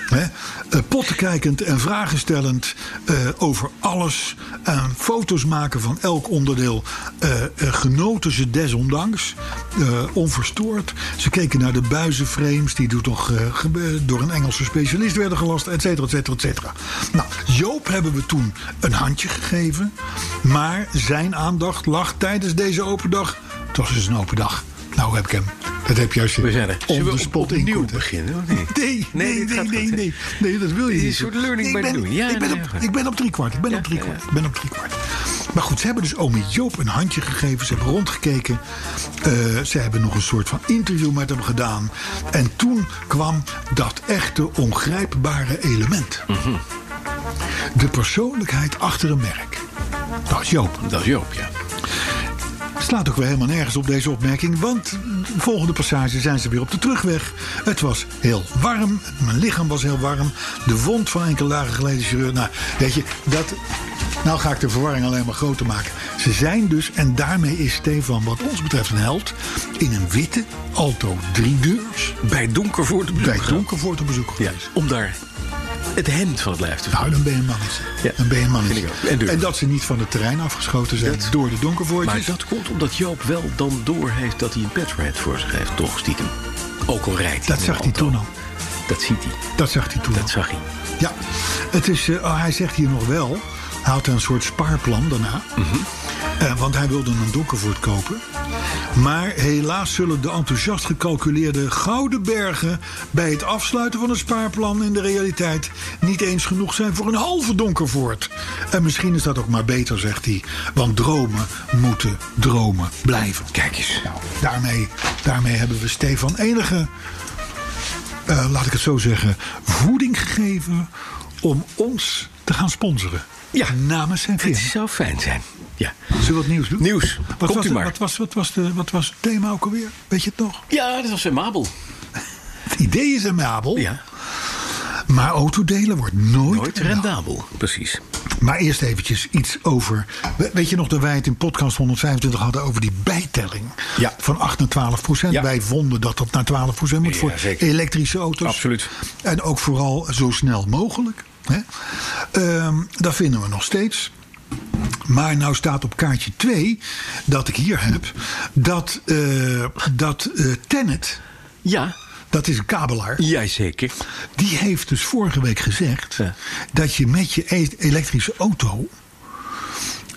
Speaker 5: Hè? Eh, pottenkijkend en vragen stellend eh, over alles. En foto's maken van elk onderdeel. Eh, eh, genoten ze desondanks. eh, onverstoord. Ze keken naar de buizenframes die door, toch, eh, gebe- door een Engelse specialist werden gelast. Et cetera, et cetera, et cetera. Nou, Joop hebben we toen een handje gegeven. Maar zijn aandacht lag tijdens deze open dag. Het was dus een open dag. Nou heb ik hem. Dat heb je juist
Speaker 4: We zijn er.
Speaker 5: on
Speaker 4: Zullen we
Speaker 5: the
Speaker 4: op-
Speaker 5: spot
Speaker 4: opnieuw
Speaker 5: inkorten.
Speaker 4: beginnen, of niet?
Speaker 5: Nee,
Speaker 4: Nee,
Speaker 5: nee,
Speaker 4: dit
Speaker 5: nee,
Speaker 4: gaat
Speaker 5: nee,
Speaker 4: goed, hè?
Speaker 5: nee, nee. dat wil je
Speaker 4: is
Speaker 5: niet.
Speaker 4: een soort learning
Speaker 5: Ik
Speaker 4: by
Speaker 5: ben-
Speaker 4: doing. Ja,
Speaker 5: ik, ben
Speaker 4: nee,
Speaker 5: op,
Speaker 4: ja.
Speaker 5: ik ben op drie kwart. Ik ben
Speaker 4: Ja,
Speaker 5: op drie
Speaker 4: ja,
Speaker 5: kwart. Ik ben op drie kwart. Maar goed, ze hebben dus ome Joop een handje gegeven. Ze hebben rondgekeken. Eh, ze hebben nog een soort van interview met hem gedaan. En toen kwam dat echte ongrijpbare element.
Speaker 4: Mhm.
Speaker 5: De persoonlijkheid achter een merk. Dat is Joop.
Speaker 4: Dat is Joop, ja.
Speaker 5: Slaat ook weer helemaal nergens op deze opmerking, want de volgende passage zijn ze weer op de terugweg. Het was heel warm, mijn lichaam was heel warm, de wond van enkele dagen geleden chirurg. Nou, weet je, dat. Nou ga ik de verwarring alleen maar groter maken. Ze zijn dus, en daarmee is Stefan wat ons betreft een held, in een witte Alto 3 deurs
Speaker 4: Bij Donkervoort op bezoek
Speaker 5: bij
Speaker 4: gegaan.
Speaker 5: Donkervoort op bezoek
Speaker 4: Ja,
Speaker 5: geweest.
Speaker 4: om daar het hemd van het lijf te
Speaker 5: Nou,
Speaker 4: houden.
Speaker 5: dan ben je een mannetje.
Speaker 4: Ja,
Speaker 5: Dan ben je een mannetje.
Speaker 4: vind ik ook. En dus- durf.
Speaker 5: dat ze niet van het terrein afgeschoten zijn
Speaker 4: Dat-
Speaker 5: door de donkervoortjes.
Speaker 4: Maar dat komt omdat Joop wel dan door heeft dat hij een petrohead voor zich heeft, toch stiekem. Ook al rijdt hij.
Speaker 5: Dat
Speaker 4: in
Speaker 5: zag
Speaker 4: een
Speaker 5: hij
Speaker 4: auto.
Speaker 5: toen al.
Speaker 4: Dat ziet hij.
Speaker 5: Dat zag hij toen al.
Speaker 4: Dat zag hij.
Speaker 5: Ja, het is, eh, oh, hij zegt hier nog wel. Hij had een soort spaarplan daarna. Eh, want hij wilde een donkervoort kopen. Maar helaas zullen de enthousiast gecalculeerde gouden bergen... bij het afsluiten van het spaarplan in de realiteit... niet eens genoeg zijn voor een halve donkervoort. En misschien is dat ook maar beter, zegt hij. Want dromen moeten dromen blijven.
Speaker 4: Kijk eens.
Speaker 5: Nou, daarmee, daarmee hebben we Stefan enige, eh, laat ik het zo zeggen, voeding gegeven om ons te gaan sponsoren.
Speaker 4: Ja.
Speaker 5: Namens zijn
Speaker 4: Het
Speaker 5: firma.
Speaker 4: zou fijn zijn. Ja.
Speaker 5: Zullen we wat nieuws doen?
Speaker 4: Nieuws.
Speaker 5: Wat
Speaker 4: Komt
Speaker 5: was
Speaker 4: u
Speaker 5: de-
Speaker 4: maar.
Speaker 5: Wat was, wat, was de, wat was het thema ook alweer? Weet je het nog?
Speaker 4: Ja, dat was een Mabel.
Speaker 5: Het idee is amabel,
Speaker 4: Ja.
Speaker 5: maar autodelen wordt nooit,
Speaker 4: Nooit
Speaker 5: rendabel.
Speaker 4: rendabel. Precies.
Speaker 5: Maar eerst eventjes iets over. we- Weet je nog dat wij het in podcast 125 hadden over die bijtelling
Speaker 4: Ja.
Speaker 5: van 8 naar 12 procent?
Speaker 4: Ja.
Speaker 5: Wij vonden dat dat naar 12 procent moet
Speaker 4: Ja,
Speaker 5: voor
Speaker 4: zeker.
Speaker 5: elektrische auto's.
Speaker 4: Absoluut.
Speaker 5: En ook vooral zo snel mogelijk. Hè? Ehm, dat vinden we nog steeds. Maar nou staat op kaartje 2 dat ik hier heb dat, eh dat eh, Tenet,
Speaker 4: Ja.
Speaker 5: dat is een kabelaar,
Speaker 4: Jijzeker.
Speaker 5: die heeft dus vorige week gezegd
Speaker 4: Ja.
Speaker 5: dat je met je e- elektrische auto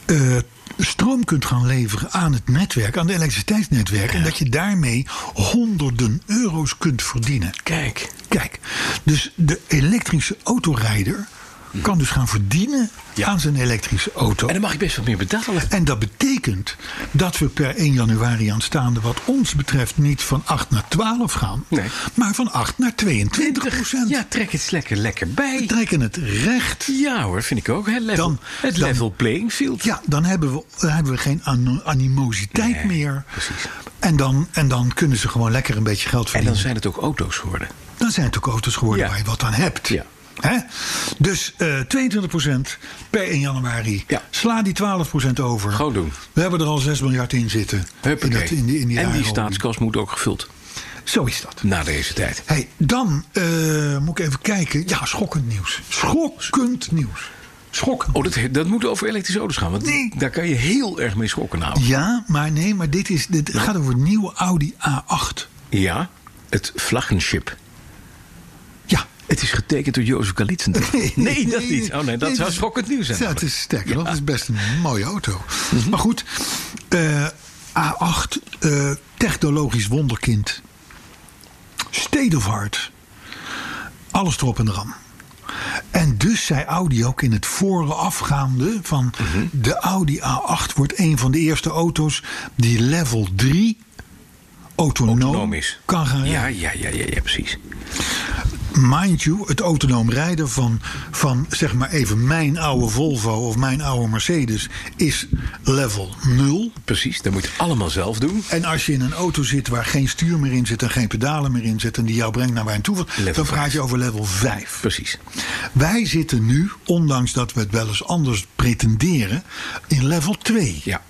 Speaker 5: eh, stroom kunt gaan leveren aan het netwerk, aan het elektriciteitsnetwerk. En dat je daarmee honderden euro's kunt verdienen.
Speaker 4: Kijk.
Speaker 5: Kijk, dus de elektrische autorijder kan dus gaan verdienen
Speaker 4: Hm. Ja.
Speaker 5: aan zijn elektrische auto.
Speaker 4: En dan mag je best wat meer betalen.
Speaker 5: En dat betekent dat we per 1 januari aanstaande, wat ons betreft, niet van 8 naar 12 gaan,
Speaker 4: Nee.
Speaker 5: maar van 8 naar 22 procent.
Speaker 4: Ja, trek het lekker lekker
Speaker 5: We
Speaker 4: bij.
Speaker 5: trekken het recht.
Speaker 4: Ja hoor, vind ik ook. Het level,
Speaker 5: Dan-
Speaker 4: het
Speaker 5: dan-
Speaker 4: level playing field.
Speaker 5: Ja, dan hebben we, dan hebben we geen an- animositeit
Speaker 4: Nee,
Speaker 5: meer.
Speaker 4: precies.
Speaker 5: En dan, en dan kunnen ze gewoon lekker een beetje geld
Speaker 4: En
Speaker 5: verdienen.
Speaker 4: dan zijn het ook auto's geworden.
Speaker 5: dan zijn het ook auto's geworden
Speaker 4: Ja.
Speaker 5: waar je wat aan hebt.
Speaker 4: Ja.
Speaker 5: Hè? Dus eh 22% per 1 januari.
Speaker 4: Ja.
Speaker 5: Sla die 12% over.
Speaker 4: Gewoon doen.
Speaker 5: We hebben er al 6 miljard in zitten. In
Speaker 4: Huppakee.
Speaker 5: dat- in die, in die
Speaker 4: en die
Speaker 5: jaren.
Speaker 4: staatskas moet ook gevuld.
Speaker 5: Zo is dat.
Speaker 4: Na deze tijd.
Speaker 5: Hey, dan eh, moet ik even kijken. Ja, schokkend nieuws. Schokkend nieuws. Schokkend.
Speaker 4: Oh, dat, dat moet over elektrische auto's gaan. Want
Speaker 5: Nee.
Speaker 4: daar kan je heel erg mee nou. schokken namelijk.
Speaker 5: Ja, maar nee, maar dit, is, dit gaat over het nieuwe Audi A8.
Speaker 4: Ja, het vlaggenschip.
Speaker 5: Ja.
Speaker 4: Het is getekend door Jozef Galitsendijk. Nee, dat niet. Oh nee, dat zou
Speaker 5: is-
Speaker 4: schokkend nieuws zijn. Mhm.
Speaker 5: Ja, het is sterk. Dat is best een mooie auto. Maar goed, eh, A8, eh, technologisch wonderkind. State of art. Alles erop en eraan. En dus zei Audi ook in het voorafgaande van
Speaker 4: Mhm.
Speaker 5: de Audi A8 wordt een van de eerste auto's die level 3 autonoom,
Speaker 4: Autonomisch.
Speaker 5: kan gaan rijden.
Speaker 4: Ja, ja, ja, ja, ja, precies.
Speaker 5: Mind you, het autonoom rijden van, van zeg maar even mijn oude Volvo of mijn oude Mercedes is level 0.
Speaker 4: Precies, dat moet je allemaal zelf doen.
Speaker 5: En als je in een auto zit waar geen stuur meer in zit en geen pedalen meer in zit en die jou brengt naar waar je toe wilt,
Speaker 4: Level
Speaker 5: dan praat je over level 5.
Speaker 4: Precies.
Speaker 5: Wij zitten nu, ondanks dat we het wel eens anders pretenderen, in level 2.
Speaker 4: Ja,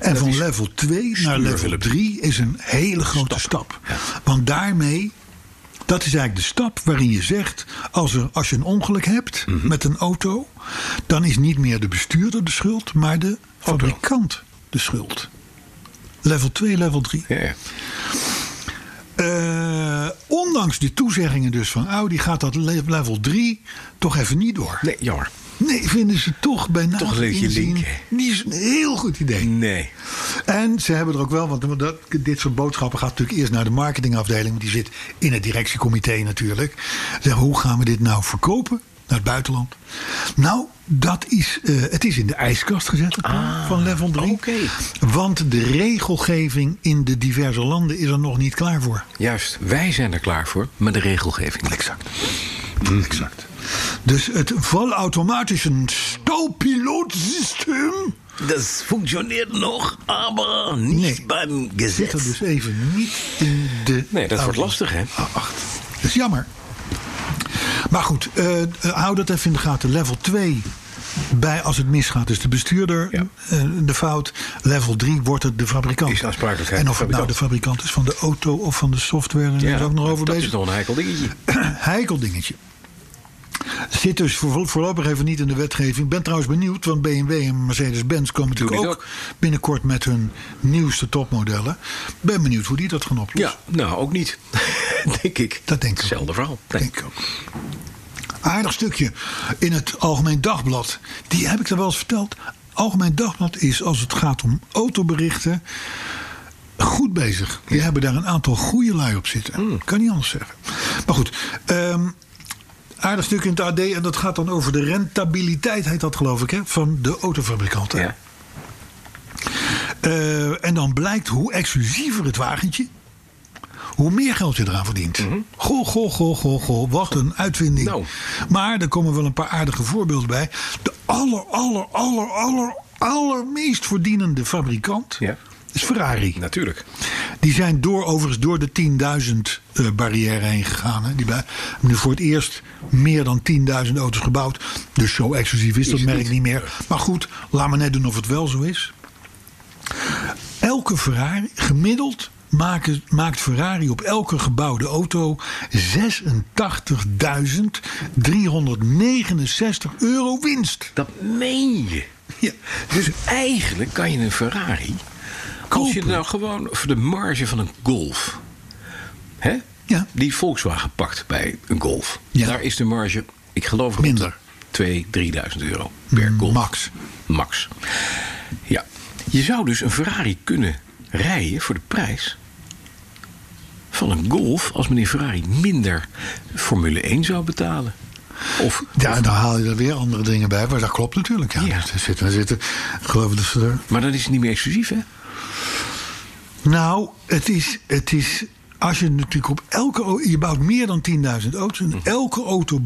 Speaker 5: En van level 2 naar level
Speaker 4: stuurhulp.
Speaker 5: 3 is een hele grote stap. Want daarmee, dat is eigenlijk de stap waarin je zegt... als, er, als je een ongeluk hebt
Speaker 4: Mhm.
Speaker 5: met een auto... dan is niet meer de bestuurder de schuld, maar de fabrikant de schuld. Level 2, level 3.
Speaker 4: ja, ja.
Speaker 5: Eh, ondanks de toezeggingen dus van Audi gaat dat le- level 3 toch even niet door.
Speaker 4: Nee, jammer.
Speaker 5: Nee, vinden ze toch bij nader
Speaker 4: Toch een beetje
Speaker 5: inzien
Speaker 4: linken.
Speaker 5: Niet is een heel goed idee.
Speaker 4: Nee.
Speaker 5: En ze hebben er ook wel, want dat, dit soort boodschappen gaat natuurlijk eerst naar de marketingafdeling. Want die zit in het directiecomité natuurlijk. Zeg, hoe gaan we dit nou verkopen naar het buitenland? Nou, dat is, eh, het is in de ijskast gezet het plan van level 3.
Speaker 4: Ah, oké.
Speaker 5: Want de regelgeving in de diverse landen is er nog niet klaar voor.
Speaker 4: Juist, wij zijn er klaar voor, maar de regelgeving. Mm. niet.
Speaker 5: Exact. Exact. Dus het volautomatische stoelpilootsysteem
Speaker 4: Dat functioneert nog, maar
Speaker 5: Nee.
Speaker 4: beim
Speaker 5: zit er dus even niet in de.
Speaker 4: Nee, dat
Speaker 5: Audi.
Speaker 4: wordt lastig, hè?
Speaker 5: acht. Ah, Dat is jammer. Maar goed, eh, eh, hou dat even in de gaten. Level 2, bij als het misgaat, is de bestuurder
Speaker 4: Ja.
Speaker 5: eh, de fout. Level 3 wordt het de fabrikant.
Speaker 4: Is aansprakelijkheid
Speaker 5: En of het
Speaker 4: van de
Speaker 5: nou de fabrikant is van de auto of van de software, daar zijn we ook nog over
Speaker 4: dat
Speaker 5: bezig.
Speaker 4: is nog een heikel dingetje.
Speaker 5: Heikel dingetje. Zit dus voor- voorlopig even niet in de wetgeving. Ik ben trouwens benieuwd, want BMW en Mercedes-Benz komen natuurlijk
Speaker 4: dit
Speaker 5: ook, binnenkort met hun nieuwste topmodellen. Ben benieuwd hoe die dat gaan oplossen.
Speaker 4: Ja, nou ook niet. denk ik.
Speaker 5: Dat denk ik ook.
Speaker 4: Hetzelfde verhaal. Nee.
Speaker 5: Denk ik ook. Aardig stukje in het Algemeen Dagblad. Die heb ik er wel eens verteld. Algemeen Dagblad is, als het gaat om autoberichten, goed bezig. Die hebben daar een aantal goede lui op zitten. Kan niet anders zeggen. Maar goed, ehm, aardig stuk in het AD. En dat gaat dan over de rentabiliteit, heet dat geloof ik, hè, van de autofabrikanten.
Speaker 4: Ja.
Speaker 5: Eh, en dan blijkt hoe exclusiever het wagentje, hoe meer geld je eraan verdient. Goh, goh, goh, goh, goh. Wat een uitvinding.
Speaker 4: Mhm. Nou.
Speaker 5: Maar er komen wel een paar aardige voorbeelden bij. De aller, aller, aller, aller, allermeest verdienende fabrikant
Speaker 4: Ja.
Speaker 5: is Ferrari.
Speaker 4: Natuurlijk.
Speaker 5: Die zijn door, overigens door de 10.000 eh, barrière heen gegaan. Hè. Die bij- hebben nu voor het eerst meer dan 10.000 auto's gebouwd. Dus zo exclusief is dat merk niet. meer. Maar goed, laat maar net doen of het wel zo is. Elke Ferrari, gemiddeld maken, maakt Ferrari op elke gebouwde auto 86.369 euro winst.
Speaker 4: Dat meen je.
Speaker 5: Ja.
Speaker 4: Dus eigenlijk kan je een Ferrari. Als je
Speaker 5: Kopen.
Speaker 4: het nou gewoon voor de marge van een Golf. Hè?
Speaker 5: Ja.
Speaker 4: Die Volkswagen pakt bij een Golf.
Speaker 5: Ja.
Speaker 4: Daar is de marge, ik geloof rond
Speaker 5: Minder.
Speaker 4: 2, 3000 euro per Golf.
Speaker 5: Max.
Speaker 4: Max. Ja. Je zou dus een Ferrari kunnen rijden voor de prijs van een Golf als meneer Ferrari minder Formule 1 zou betalen. Of
Speaker 5: Ja, en dan haal je er weer andere dingen bij. Maar dat klopt natuurlijk. Ja, dus
Speaker 4: Ja.
Speaker 5: Er zitten, er zitten, ik geloof dat ze er
Speaker 4: Maar dan is het niet meer exclusief, hè?
Speaker 5: Nou, het is, het is. Als je natuurlijk op elke. au- Je bouwt meer dan 10.000 auto's. En
Speaker 4: Mhm.
Speaker 5: elke auto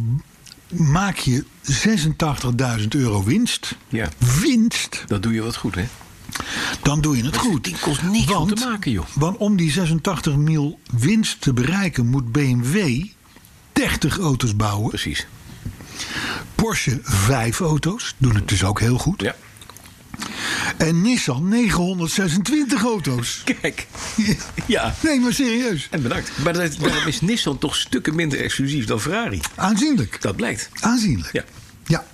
Speaker 5: maak je 86.000 euro winst.
Speaker 4: Ja.
Speaker 5: Winst.
Speaker 4: Dat doe je wat goed, hè?
Speaker 5: Dan doe je het goed.
Speaker 4: die kost niks om te maken, joh.
Speaker 5: Want om die 86 mil winst te bereiken, moet BMW 30 auto's bouwen.
Speaker 4: Precies.
Speaker 5: Porsche 5 auto's. Doen het dus ook heel goed.
Speaker 4: Ja.
Speaker 5: En Nissan 926 auto's.
Speaker 4: Kijk. Ja.
Speaker 5: Nee, maar serieus.
Speaker 4: En bedankt. Maar dat, daarom is Nissan toch stukken minder exclusief dan Ferrari.
Speaker 5: Aanzienlijk.
Speaker 4: Dat blijkt.
Speaker 5: Aanzienlijk.
Speaker 4: Ja.
Speaker 5: Ja.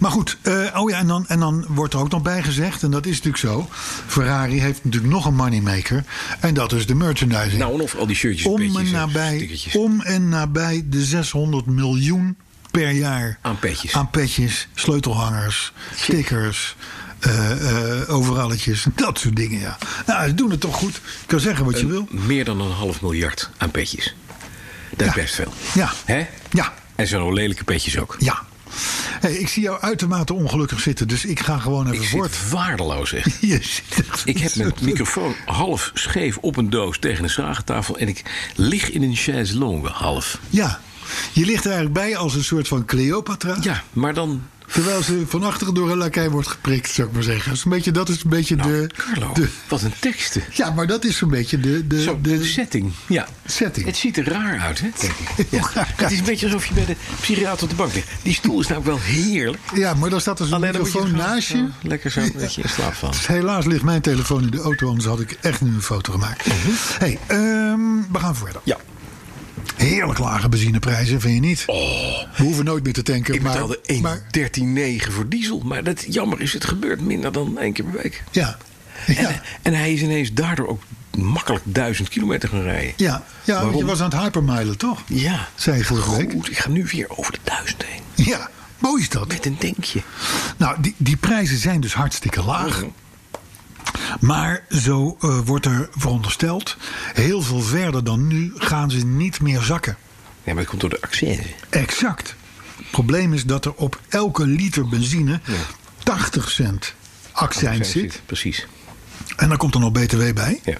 Speaker 5: Maar goed, eh, oh ja, en dan, en dan wordt er ook nog bij gezegd, en dat is natuurlijk zo. Ferrari heeft natuurlijk nog een moneymaker. En dat is de merchandising.
Speaker 4: Nou, en of al die shirtjes en
Speaker 5: om,
Speaker 4: petjes
Speaker 5: en
Speaker 4: en
Speaker 5: nabij,
Speaker 4: stickertjes.
Speaker 5: om en nabij de 600 miljoen per jaar.
Speaker 4: Aan petjes.
Speaker 5: Aan petjes, sleutelhangers, stickers, eh, eh, overalletjes. Dat soort dingen, ja. Nou, ze doen het toch goed. Ik kan zeggen wat je
Speaker 4: Eh,
Speaker 5: wil.
Speaker 4: Meer dan een half miljard aan petjes. Dat
Speaker 5: Ja.
Speaker 4: is best veel.
Speaker 5: Ja.
Speaker 4: Hè?
Speaker 5: Ja.
Speaker 4: En zo'n lelijke petjes ook.
Speaker 5: Ja. Hey, ik zie jou uitermate ongelukkig zitten, dus ik ga gewoon even
Speaker 4: Ik
Speaker 5: voort.
Speaker 4: zit waardeloos, echt.
Speaker 5: Je zit echt-
Speaker 4: Ik heb mijn microfoon half scheef op een doos tegen een schragentafel... en ik lig in een chaise longue, half.
Speaker 5: Ja, je ligt er eigenlijk bij als een soort van Cleopatra.
Speaker 4: Ja, maar dan...
Speaker 5: Terwijl ze van achteren door een lakij wordt geprikt, zou ik maar zeggen. Dat is een beetje, dat is een beetje
Speaker 4: Nou,
Speaker 5: de,
Speaker 4: Carlo,
Speaker 5: de-
Speaker 4: wat een teksten.
Speaker 5: Ja, maar dat is een beetje de. de,
Speaker 4: Zo, de,
Speaker 5: de
Speaker 4: setting. Ja.
Speaker 5: Setting.
Speaker 4: Het ziet er raar uit, hè? Denk ik.
Speaker 5: Heel
Speaker 4: Ja.
Speaker 5: raar.
Speaker 4: Het is een beetje alsof je bij de psychiater op de bank ligt. Die stoel is namelijk wel heerlijk.
Speaker 5: ja, maar daar staat dus een
Speaker 4: Alleen dan moet je
Speaker 5: microfoon
Speaker 4: er gewoon
Speaker 5: naast je. Dus
Speaker 4: zo Lekker zo, dat je in slaap van.
Speaker 5: Helaas ligt mijn telefoon in de auto, anders had ik echt nu een foto gemaakt. hey, ehm, we gaan verder.
Speaker 4: Mhm. Ja,
Speaker 5: Heerlijk lage benzineprijzen, vind je niet? We hoeven nooit meer te tanken.
Speaker 4: Oh. ik
Speaker 5: maar,
Speaker 4: betaalde
Speaker 5: maar-
Speaker 4: 1,139 voor diesel. Maar dat, jammer is, het gebeurt minder dan één keer per week.
Speaker 5: ja.
Speaker 4: En, eh,
Speaker 5: Ja.
Speaker 4: en hij is ineens daardoor ook makkelijk duizend kilometer gaan rijden.
Speaker 5: Ja, ja want je
Speaker 4: Waarom?
Speaker 5: was aan het hypermilen, toch?
Speaker 4: Ja.
Speaker 5: Zei je vorige week.
Speaker 4: Goed, ik ga nu weer over de duizend heen.
Speaker 5: Ja, mooi is dat.
Speaker 4: Met een denkje.
Speaker 5: Nou, die, die prijzen zijn dus hartstikke laag. Maar zo eh, wordt er verondersteld, heel veel verder dan nu gaan ze niet meer zakken.
Speaker 4: Ja, maar het komt door de accent.
Speaker 5: Exact. Het probleem is dat er op elke liter benzine 80 cent accijns zit.
Speaker 4: Precies.
Speaker 5: En daar komt er nog BTW bij.
Speaker 4: Ja.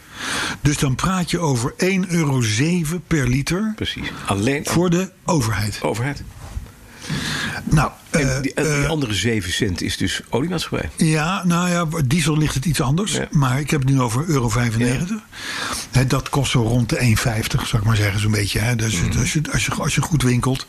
Speaker 5: Dus dan praat je over 1,07 euro per liter
Speaker 4: Precies. Alleen
Speaker 5: voor de overheid.
Speaker 4: overheid.
Speaker 5: Nou, eh,
Speaker 4: En die, en die
Speaker 5: eh,
Speaker 4: andere 7 cent is dus oliemaatschappij.
Speaker 5: Ja, nou ja, diesel ligt het iets anders.
Speaker 4: Ja.
Speaker 5: Maar ik heb het nu over euro 95. Hè, dat kost zo rond de 1,50, zou ik maar zeggen, zo'n beetje. Hè. Dus
Speaker 4: Mhm.
Speaker 5: het- als, je, als, je, als je goed winkelt.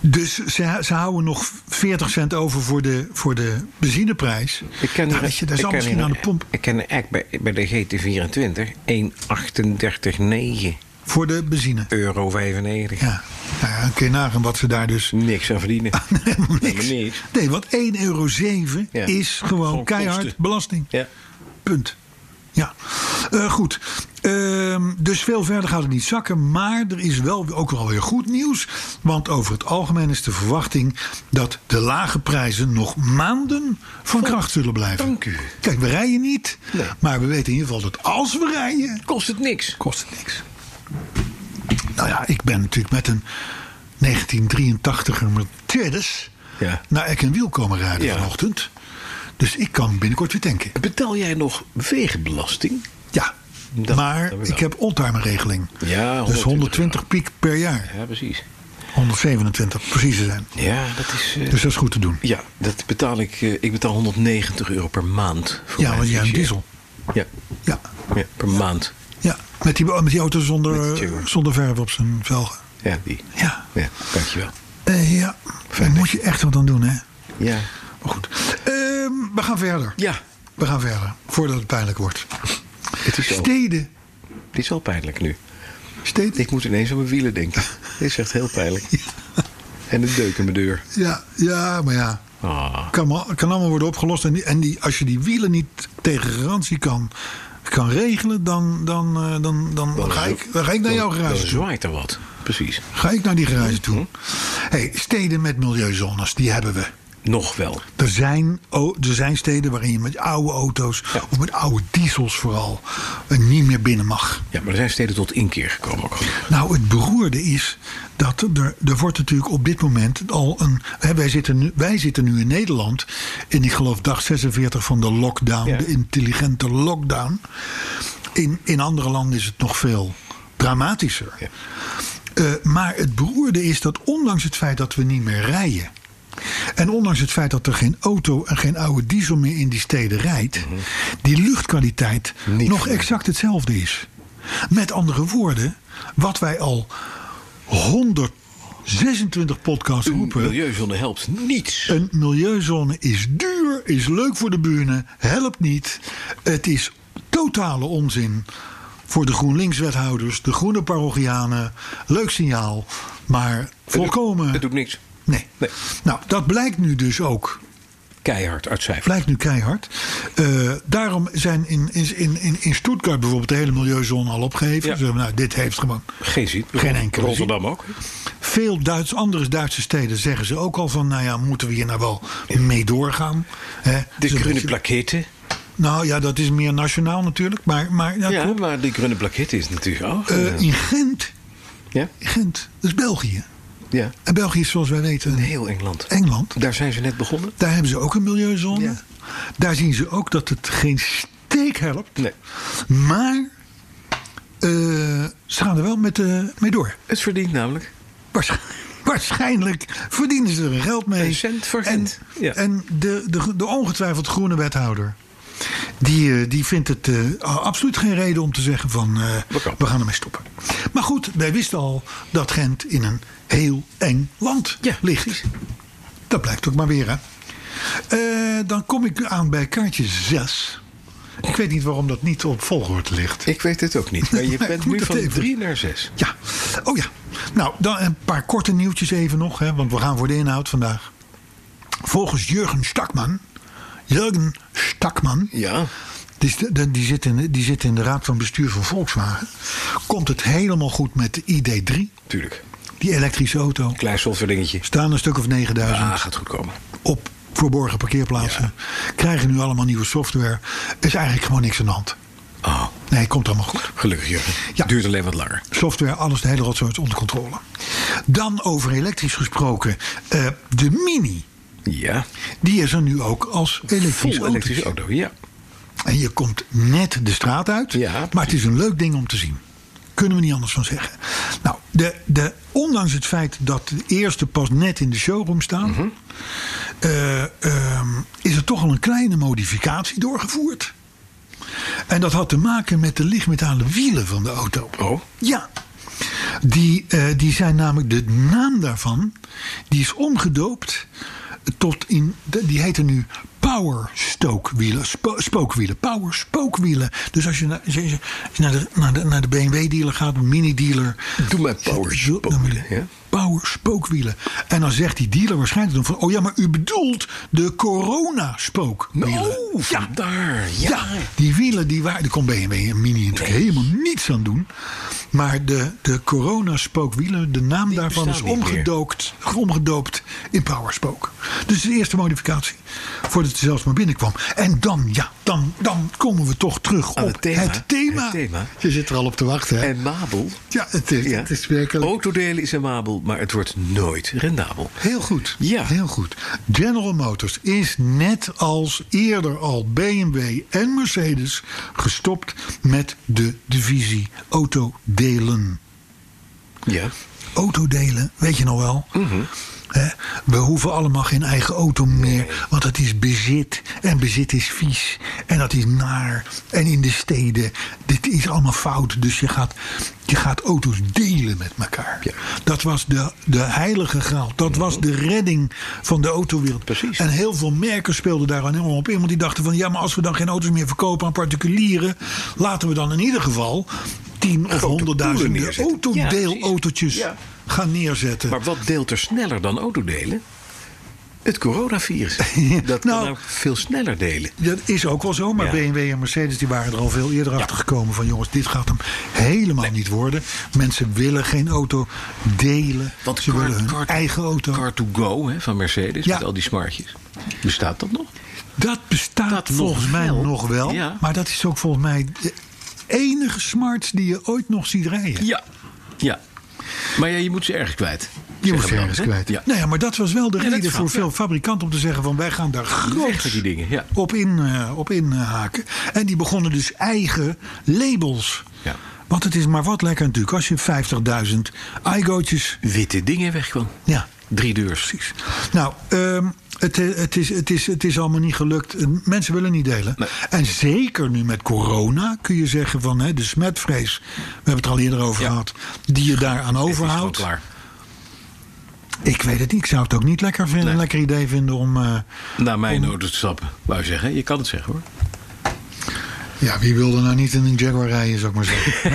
Speaker 5: Dus ze, ze houden nog 40 cent over voor de, voor de benzineprijs.
Speaker 4: Ik ken
Speaker 5: nou,
Speaker 4: hier-
Speaker 5: weet je, daar
Speaker 4: ik
Speaker 5: zal
Speaker 4: ken
Speaker 5: misschien
Speaker 4: hier-
Speaker 5: aan de pomp.
Speaker 4: Ik ken echt bij, bij de GT24 1,389
Speaker 5: Voor de benzine.
Speaker 4: euro 95.
Speaker 5: Ja, ja. Nou ja, kun je nagaan wat ze daar dus
Speaker 4: Niks aan verdienen.
Speaker 5: Helemaal niks.
Speaker 4: Helemaal niks.
Speaker 5: Nee, want 1,07 euro
Speaker 4: Ja.
Speaker 5: is gewoon
Speaker 4: Gewoon
Speaker 5: keihard
Speaker 4: kosten.
Speaker 5: belasting.
Speaker 4: Ja.
Speaker 5: Punt. Ja, Eh, goed. Ehm, dus veel verder gaat het niet zakken. Maar er is wel ook wel weer goed nieuws. Want over het algemeen is de verwachting dat de lage prijzen nog maanden van kracht zullen blijven.
Speaker 4: Dank u.
Speaker 5: Kijk, we rijden niet. Maar we weten in ieder geval dat als we rijden,
Speaker 4: Kost het niks.
Speaker 5: kost het niks. Nou ja, ik ben natuurlijk met een 1983er Mercedes
Speaker 4: Ja.
Speaker 5: naar Eck en Wiel komen rijden
Speaker 4: Ja.
Speaker 5: vanochtend. Dus ik kan binnenkort weer tanken.
Speaker 4: Betaal jij nog wegenbelasting?
Speaker 5: Ja,
Speaker 4: Dat-
Speaker 5: maar
Speaker 4: dat wel.
Speaker 5: ik heb ontimer regeling.
Speaker 4: Ja,
Speaker 5: dus
Speaker 4: 120
Speaker 5: 120 piek per jaar.
Speaker 4: Ja, precies.
Speaker 5: 127 precies te zijn.
Speaker 4: Ja, dat is... eh,
Speaker 5: Dus dat is goed te doen.
Speaker 4: ja, dat betaal ik... eh, ik betaal 190 euro per maand. Voor
Speaker 5: Ja,
Speaker 4: mijn
Speaker 5: want jij hebt
Speaker 4: fiche.
Speaker 5: diesel.
Speaker 4: Ja,
Speaker 5: Ja,
Speaker 4: ja per maand.
Speaker 5: ja. Met, die, met die auto
Speaker 4: Met
Speaker 5: zonder,
Speaker 4: die Jaguar.
Speaker 5: zonder verf op zijn velgen.
Speaker 4: Ja, die.
Speaker 5: Ja,
Speaker 4: Ja, dankjewel.
Speaker 5: Eh, ja. daar moet je echt wat aan doen, hè?
Speaker 4: Ja.
Speaker 5: Maar goed, Ehm, we gaan verder.
Speaker 4: Ja,
Speaker 5: We gaan verder, voordat het pijnlijk wordt.
Speaker 4: het is, al,
Speaker 5: Steden.
Speaker 4: dit is wel pijnlijk nu.
Speaker 5: Steden.
Speaker 4: Ik moet ineens aan mijn wielen denken. Dit is echt heel pijnlijk. En de deuk in mijn deur.
Speaker 5: Ja, ja, maar ja.
Speaker 4: Ah,
Speaker 5: Kan, al- kan allemaal worden opgelost. En, die, en die, als je die wielen niet tegen garantie kan, kan regelen, dan, dan, eh, dan, dan, ga, ik, dan ga ik naar jouw garage
Speaker 4: Dan
Speaker 5: toe.
Speaker 4: zwaait er wat. Precies.
Speaker 5: Ga ik naar die garage toe. hey, steden met milieuzones, die hebben we.
Speaker 4: Nog wel.
Speaker 5: Er zijn, o- er zijn steden waarin je met oude auto's,
Speaker 4: Ja.
Speaker 5: of met oude diesels vooral, eh, niet meer binnen mag.
Speaker 4: Ja, maar er zijn steden tot inkeer gekomen ook. gelukkig.
Speaker 5: Nou, het beroerde is dat er, er wordt natuurlijk op dit moment al een. Hè, wij, zitten nu, wij zitten nu in Nederland. In, ik geloof, dag 46 van de lockdown.
Speaker 4: Ja.
Speaker 5: De intelligente lockdown. In, in andere landen is het nog veel dramatischer.
Speaker 4: Ja.
Speaker 5: Eh, maar het beroerde is dat ondanks het feit dat we niet meer rijden. En ondanks het feit dat er geen auto en geen oude diesel meer in die steden rijdt, die luchtkwaliteit
Speaker 4: Mhm. Niet
Speaker 5: nog
Speaker 4: veranderd.
Speaker 5: exact hetzelfde is. Met andere woorden, wat wij al 126 podcasts roepen.
Speaker 4: Milieuzone helpt niets.
Speaker 5: Een milieuzone is duur, is leuk voor de buren, helpt niet. Het is totale onzin voor de GroenLinks-wethouders, de groene parochianen. Leuk signaal, maar
Speaker 4: Het
Speaker 5: volkomen.
Speaker 4: doet niks.
Speaker 5: Nee.
Speaker 4: Nee.
Speaker 5: Nou, dat blijkt nu dus ook.
Speaker 4: Keihard uit cijfer.
Speaker 5: Blijkt nu keihard. Eh, daarom zijn in, in, in, in- in Stuttgart bijvoorbeeld de hele milieuzone al opgeheven.
Speaker 4: Ja.
Speaker 5: Ze hebben, nou, dit heeft gewoon.
Speaker 4: Geen zin.
Speaker 5: Geen enkele
Speaker 4: Rotterdam ook.
Speaker 5: Veel Duits, andere Duitse steden zeggen ze ook al van... nou ja, moeten we hier nou wel mee doorgaan? Hè?
Speaker 4: De
Speaker 5: Zo'n
Speaker 4: groene
Speaker 5: beetje-
Speaker 4: plakette.
Speaker 5: Nou ja, dat is meer nationaal natuurlijk. Maar, maar ja,
Speaker 4: Ja,
Speaker 5: klopt.
Speaker 4: maar die groene plakette is natuurlijk ook.
Speaker 5: Eh, in Gent,
Speaker 4: ja?
Speaker 5: Gent, dat is België.
Speaker 4: ja.
Speaker 5: En België is zoals wij weten
Speaker 4: Heel Engeland.
Speaker 5: Engeland.
Speaker 4: Daar zijn ze net begonnen.
Speaker 5: Daar hebben ze ook een milieuzone.
Speaker 4: Ja.
Speaker 5: Daar zien ze ook dat het geen steek helpt.
Speaker 4: Nee.
Speaker 5: Maar eh, ze gaan er wel met, eh, mee door.
Speaker 4: Het verdient namelijk.
Speaker 5: Waarsch- Waarschijnlijk verdienen ze er geld mee.
Speaker 4: Een cent voor
Speaker 5: en,
Speaker 4: Gent, ja.
Speaker 5: en de, de, de ongetwijfeld groene wethouder. Die, eh, die vindt het eh, a- absoluut geen reden om te zeggen van eh,
Speaker 4: We kappen.
Speaker 5: we gaan ermee stoppen. Maar goed, wij wisten al dat Gent in een heel eng land
Speaker 4: Ja.
Speaker 5: ligt. Dat blijkt ook maar weer hè. Eh, dan kom ik aan bij kaartje 6. Ik weet niet waarom dat niet op volgorde ligt.
Speaker 4: Ik weet het ook niet. Maar je
Speaker 5: Nee,
Speaker 4: bent
Speaker 5: moet
Speaker 4: nu
Speaker 5: het
Speaker 4: van
Speaker 5: even.
Speaker 4: 3 naar 6.
Speaker 5: Ja, oh ja. Nou, dan een paar korte nieuwtjes even nog, hè, want we gaan voor de inhoud vandaag. Volgens Jurgen Stakman. Jurgen Stakman.
Speaker 4: Ja.
Speaker 5: Die, is de- de- die, zit in, die zit in de raad van bestuur van Volkswagen. Komt het helemaal goed met de ID3,
Speaker 4: Tuurlijk.
Speaker 5: die elektrische auto.
Speaker 4: Klein software dingetje.
Speaker 5: Staan een stuk of 9000
Speaker 4: Ah, gaat goed komen.
Speaker 5: op verborgen parkeerplaatsen. Krijgen nu allemaal nieuwe software. Is eigenlijk gewoon niks aan de hand.
Speaker 4: Oh,
Speaker 5: Nee, komt allemaal goed.
Speaker 4: gelukkig Jurgen.
Speaker 5: Ja.
Speaker 4: Duurt alleen wat langer.
Speaker 5: software, alles, de hele rotzooi is onder controle. Dan over elektrisch gesproken, eh, de Mini.
Speaker 4: Ja.
Speaker 5: Die is er nu ook als elektrisch
Speaker 4: Vol elektrische
Speaker 5: auto.
Speaker 4: auto. Ja.
Speaker 5: En je komt net de straat uit,
Speaker 4: Ja,
Speaker 5: maar
Speaker 4: precies.
Speaker 5: het is een leuk ding om te zien. Kunnen we niet anders van zeggen. Nou, de, de, ondanks het feit dat de eerste pas net in de showroom staan...
Speaker 4: Mhm.
Speaker 5: eh, ehm, is er toch al een kleine modificatie doorgevoerd. En dat had te maken met de lichtmetalen wielen van de auto.
Speaker 4: Oh.
Speaker 5: Ja. Die, eh, die zijn namelijk de naam daarvan. Die is omgedoopt tot in. de- Die heette nu power stookwielen, spo- spookwielen, power spookwielen. Dus als je, naar, als je- als je naar de, naar de, naar de BMW-dealer gaat, een mini-dealer.
Speaker 4: Doe mij
Speaker 5: zet-
Speaker 4: power
Speaker 5: zul- dan moet je-
Speaker 4: spookwielen, ja.
Speaker 5: Power spookwielen. En dan zegt die dealer waarschijnlijk dan van... oh ja, maar u bedoelt de corona-spookwielen.
Speaker 4: Oh,
Speaker 5: ja,
Speaker 4: vandaar. Ja.
Speaker 5: ja, die wielen die waren. Daar kon BMW en Mini natuurlijk helemaal niets aan doen. Maar de, de corona-spookwielen, de naam daarvan is
Speaker 4: bestaan niet
Speaker 5: omgedoopt, omgedoopt in Powerspook. Dus de eerste modificatie. Voordat het zelfs maar binnenkwam. En dan, ja, dan, dan komen we toch terug
Speaker 4: Aan
Speaker 5: op
Speaker 4: het thema.
Speaker 5: het thema.
Speaker 4: Het thema.
Speaker 5: Je zit er al op te wachten. Hè?
Speaker 4: En Mabel.
Speaker 5: ja, het is,
Speaker 4: Ja.
Speaker 5: het is werkelijk.
Speaker 4: Autodelen is een Mabel, maar het wordt nooit rendabel.
Speaker 5: Heel goed.
Speaker 4: Ja.
Speaker 5: Heel goed. General Motors is net als eerder al BMW en Mercedes gestopt met de divisie autodelen.
Speaker 4: Ja.
Speaker 5: Autodelen, weet je nog wel?
Speaker 4: Mhm.
Speaker 5: Hè, we hoeven allemaal geen eigen auto meer, want het is bezit. En bezit is vies. En dat is naar. En in de steden, dit is allemaal fout. Dus je gaat, je gaat auto's delen met elkaar.
Speaker 4: Ja. Mhm.
Speaker 5: Dat was de, de heilige graal. Dat was de redding van de autowereld.
Speaker 4: Precies.
Speaker 5: En heel veel merken speelden daar enorm op in. Want die dachten van, ja, maar als we dan geen auto's meer verkopen aan particulieren... laten we dan in ieder geval tien of
Speaker 4: Grote poelen
Speaker 5: honderdduizenden
Speaker 4: neerzetten.
Speaker 5: autodeelautootjes
Speaker 4: Ja, precies.
Speaker 5: gaan neerzetten.
Speaker 4: Maar wat deelt er sneller dan autodelen? Het coronavirus. Dat kan
Speaker 5: Nou.
Speaker 4: nou veel sneller delen.
Speaker 5: dat is ook wel zo, maar
Speaker 4: Ja.
Speaker 5: BMW en Mercedes die waren er al veel eerder achter gekomen van jongens, dit gaat hem helemaal niet worden. Mensen willen geen auto delen.
Speaker 4: Want
Speaker 5: Ze
Speaker 4: car-
Speaker 5: willen hun
Speaker 4: car-
Speaker 5: eigen auto.
Speaker 4: Car to go hè, van Mercedes
Speaker 5: Ja.
Speaker 4: met al die smartjes. Bestaat dat nog?
Speaker 5: Dat bestaat
Speaker 4: Dat nog
Speaker 5: volgens mij
Speaker 4: wel.
Speaker 5: nog wel.
Speaker 4: Ja.
Speaker 5: Maar dat is ook volgens mij de enige smart die je ooit nog ziet rijden.
Speaker 4: Ja. Ja. Maar ja, je moet ze ergens kwijt.
Speaker 5: Je
Speaker 4: Zeggen
Speaker 5: moet
Speaker 4: we
Speaker 5: ze
Speaker 4: dan,
Speaker 5: ergens
Speaker 4: hè?
Speaker 5: kwijt.
Speaker 4: Ja.
Speaker 5: Nou ja, maar dat was wel de
Speaker 4: dat
Speaker 5: reden
Speaker 4: is
Speaker 5: voor
Speaker 4: wat,
Speaker 5: veel
Speaker 4: ja.
Speaker 5: fabrikanten om te zeggen van wij gaan daar
Speaker 4: Weg met
Speaker 5: groot
Speaker 4: die dingen, ja.
Speaker 5: op, in, eh, op inhaken. en die begonnen dus eigen labels.
Speaker 4: Ja.
Speaker 5: Want het is maar wat lekker natuurlijk als je 50.000 iGootjes...
Speaker 4: Witte dingen weg gewoon.
Speaker 5: Ja,
Speaker 4: Drie deurs.
Speaker 5: precies. Nou, ehm, het, eh, het, is, het, is, het is allemaal niet gelukt. Eh, Mensen willen niet delen.
Speaker 4: Nee.
Speaker 5: En zeker nu met corona kun je zeggen van hè, de smetvrees... we hebben het er al eerder over
Speaker 4: Ja.
Speaker 5: gehad... die je daaraan
Speaker 4: Het is gewoon
Speaker 5: overhoudt.
Speaker 4: klaar.
Speaker 5: Ik weet het niet. Ik zou het ook niet lekker vinden, een lekker idee vinden om. eh,
Speaker 4: Naar mijn auto te stappen. Wou je zeggen, je kan het zeggen hoor.
Speaker 5: ja, wie wilde nou niet in een Jaguar rijden, zou ik maar zeggen.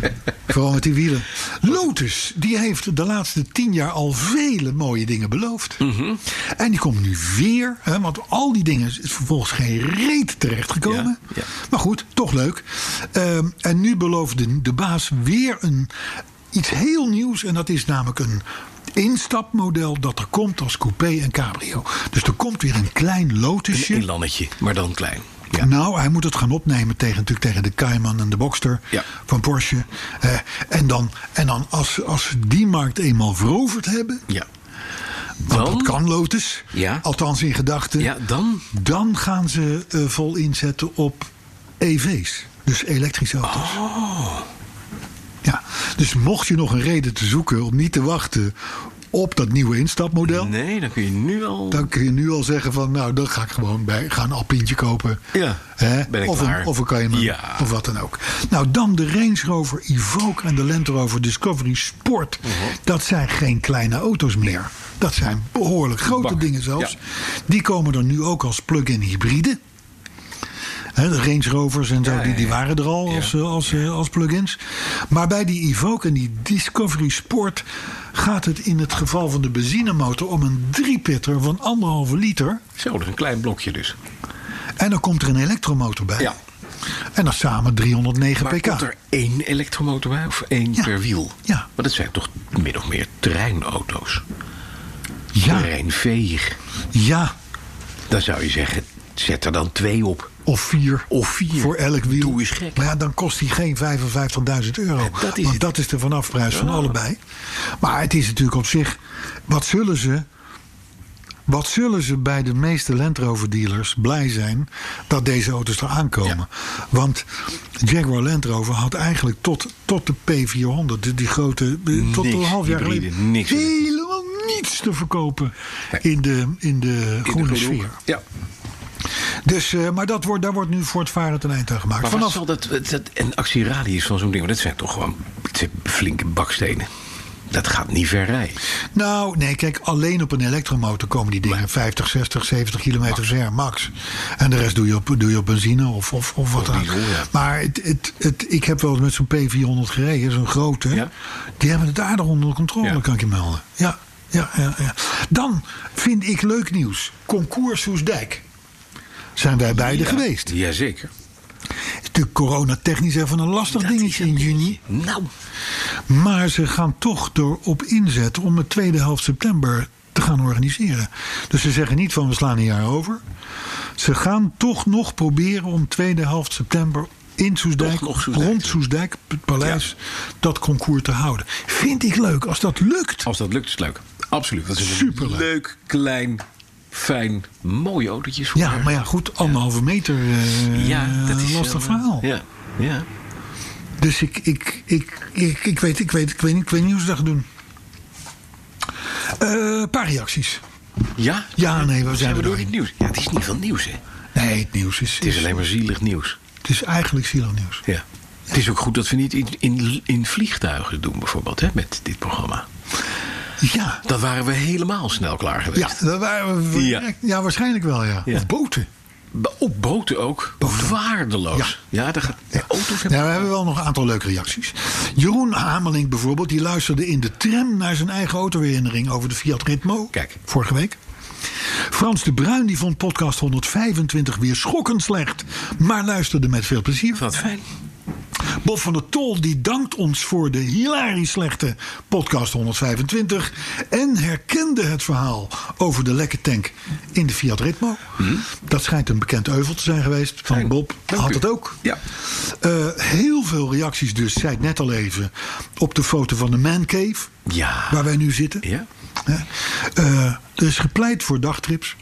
Speaker 5: hè? Vooral met die wielen. Lotus, die heeft de laatste tien jaar al vele mooie dingen beloofd.
Speaker 4: Mhm.
Speaker 5: En die komt nu weer, hè, want al die dingen is vervolgens geen reet terechtgekomen.
Speaker 4: Ja, ja.
Speaker 5: Maar goed, toch leuk. Ehm, en nu beloofde de baas weer een, iets heel nieuws. En dat is namelijk een instapmodel dat er komt als coupé en cabrio. Dus er komt weer een klein
Speaker 4: Een
Speaker 5: lotusje.
Speaker 4: inlannetje, maar dan klein. Ja.
Speaker 5: Nou, hij moet het gaan opnemen tegen, natuurlijk tegen de Cayman en de Boxster
Speaker 4: Ja.
Speaker 5: van Porsche. Eh, en dan, en dan als, als ze die markt eenmaal veroverd hebben,
Speaker 4: ja.
Speaker 5: want
Speaker 4: Dan?
Speaker 5: dat kan Lotus,
Speaker 4: Ja.
Speaker 5: althans in gedachten,
Speaker 4: Ja, dan?
Speaker 5: dan gaan ze eh, vol inzetten op EV's, dus elektrische auto's.
Speaker 4: Oh.
Speaker 5: Ja, dus mocht je nog een reden te zoeken om niet te wachten op dat nieuwe instapmodel,
Speaker 4: Nee, dan kun je nu al...
Speaker 5: dan kun je nu al zeggen van, nou, dan ga ik gewoon bij, ga een alpientje kopen.
Speaker 4: Ja,
Speaker 5: Hè?
Speaker 4: ben ik
Speaker 5: of,
Speaker 4: klaar.
Speaker 5: Een, of een Cayman,
Speaker 4: Ja.
Speaker 5: of wat dan ook. Nou, dan de Range Rover Evoque en de Land Rover Discovery Sport.
Speaker 4: Mhm.
Speaker 5: Dat zijn geen kleine auto's meer. Dat zijn behoorlijk grote
Speaker 4: Bakken,
Speaker 5: dingen zelfs.
Speaker 4: ja.
Speaker 5: Die komen er nu ook als plug-in hybride. Hè, de Range Rovers en zo, die, die waren er al als, eh, als, eh, als plugins. Maar bij die Evoque en die Discovery Sport gaat het in het geval van de benzinemotor om een driepitter van anderhalve liter.
Speaker 4: Zo, dus een klein blokje dus.
Speaker 5: En dan komt er een elektromotor bij.
Speaker 4: Ja.
Speaker 5: En dan samen 309
Speaker 4: Maar
Speaker 5: pk.
Speaker 4: komt er één elektromotor bij of één
Speaker 5: Ja.
Speaker 4: per wiel?
Speaker 5: Ja.
Speaker 4: Maar dat zijn toch min of meer terreinauto's?
Speaker 5: ja,
Speaker 4: Terreinveeg.
Speaker 5: ja,
Speaker 4: Dan zou je zeggen, zet er dan twee op.
Speaker 5: of vier.
Speaker 4: Of vier.
Speaker 5: Voor elk wiel.
Speaker 4: Doe eens gek.
Speaker 5: Maar ja, dan kost die geen 55.000 euro.
Speaker 4: dat is
Speaker 5: want
Speaker 4: het.
Speaker 5: dat is de vanafprijs van allebei. Maar het is natuurlijk op zich... Wat zullen ze... Wat zullen ze bij de meeste Land Rover dealers blij zijn dat deze auto's er aankomen? Want Jaguar Land Rover had eigenlijk tot, tot de P400, die, die grote, eh, tot
Speaker 4: Niks,
Speaker 5: een half jaar
Speaker 4: hybride,
Speaker 5: geleden,
Speaker 4: niks.
Speaker 5: helemaal niets te verkopen in de, in de groene
Speaker 4: In de
Speaker 5: sfeer.
Speaker 4: hoek. Ja.
Speaker 5: Dus, eh, maar dat wordt, daar wordt nu voortvarend een eind aan gemaakt.
Speaker 4: Maar Vanaf... wat
Speaker 5: Vanaf
Speaker 4: zal dat, dat een actieradius van zo'n ding? Want dat zijn toch gewoon het zijn flinke bakstenen. dat gaat niet ver rijden.
Speaker 5: Nou, nee, kijk, alleen op een elektromotor komen die dingen 50, 60, 70 kilometer ver, max. En de rest doe je op, doe je op benzine of, of, of wat dan ook. Maar het, het, het, ik heb wel eens met zo'n P400 gereden, zo'n grote.
Speaker 4: Ja.
Speaker 5: Die hebben het aardig onder controle,
Speaker 4: Ja.
Speaker 5: kan ik je melden. Ja, ja, ja, ja. Dan vind ik leuk nieuws. Concours Soesdijk. Zijn wij beide geweest.
Speaker 4: Jazeker.
Speaker 5: Het is natuurlijk coronatechnisch even een lastig dingetje in juni.
Speaker 4: Nou,
Speaker 5: Maar ze gaan toch erop inzetten om het tweede helft september te gaan organiseren. Dus ze zeggen niet van we slaan een jaar over. Ze gaan toch nog proberen om tweede helft september in Soesdijk,
Speaker 4: Toch nog Soesdijk,
Speaker 5: rond
Speaker 4: ja.
Speaker 5: Soesdijk, het paleis, dat concours te houden. Vind ik leuk als dat lukt.
Speaker 4: als dat lukt, is het leuk. Absoluut. Dat is een
Speaker 5: Superleuk.
Speaker 4: Leuk, klein, fijn, mooi autootjes. voor
Speaker 5: Ja,
Speaker 4: haar.
Speaker 5: maar ja, goed, anderhalve meter eh
Speaker 4: Ja, dat is
Speaker 5: lastig
Speaker 4: wel, eh,
Speaker 5: verhaal.
Speaker 4: Ja, ja.
Speaker 5: Dus ik, ik, ik, ik, ik, weet, ik, weet, ik, weet niet, ik weet niet hoe ze dat gaan doen. Eh, Een paar reacties.
Speaker 4: ja?
Speaker 5: Ja, nee, we zijn
Speaker 4: Zijn we
Speaker 5: er
Speaker 4: door
Speaker 5: doorheen.
Speaker 4: dit nieuws? Ja, het is niet van nieuws, hè?
Speaker 5: Nee, het nieuws is,
Speaker 4: Het is alleen maar zielig nieuws.
Speaker 5: het is eigenlijk zielig nieuws.
Speaker 4: Ja. Het is ook goed dat we niet in, in, in vliegtuigen doen, bijvoorbeeld, hè, met dit programma.
Speaker 5: Ja,
Speaker 4: Dan waren we helemaal snel klaar
Speaker 5: ja,
Speaker 4: geweest.
Speaker 5: daar waren we
Speaker 4: Ja.
Speaker 5: direct- ja, waarschijnlijk wel, ja.
Speaker 4: Ja.
Speaker 5: Of boten.
Speaker 4: Op boten ook. Waardeloos. Ja, daar gaat, de auto's hebben...
Speaker 5: Ja, we hebben wel nog een aantal leuke reacties. Jeroen Hameling bijvoorbeeld, die luisterde in de tram naar zijn eigen autoherinnering over de Fiat Ritmo.
Speaker 4: Kijk.
Speaker 5: Vorige week. Frans de Bruin die vond podcast 125 weer schokkend slecht, maar luisterde met veel plezier.
Speaker 4: Wat fijn.
Speaker 5: Bob van der Tol die dankt ons voor de hilarisch slechte podcast 125 en herkende het verhaal over de lekke tank in de Fiat Ritmo. Dat schijnt een bekend euvel te zijn geweest van
Speaker 4: Mhm. Fijn.
Speaker 5: Bob.
Speaker 4: Dank
Speaker 5: Had
Speaker 4: u.
Speaker 5: het ook.
Speaker 4: Ja.
Speaker 5: Eh, heel veel reacties dus, zei ik net al even, op de foto van de man cave
Speaker 4: Ja.
Speaker 5: waar wij nu zitten.
Speaker 4: Ja.
Speaker 5: Hè? Eh, er is gepleit voor dagtrips,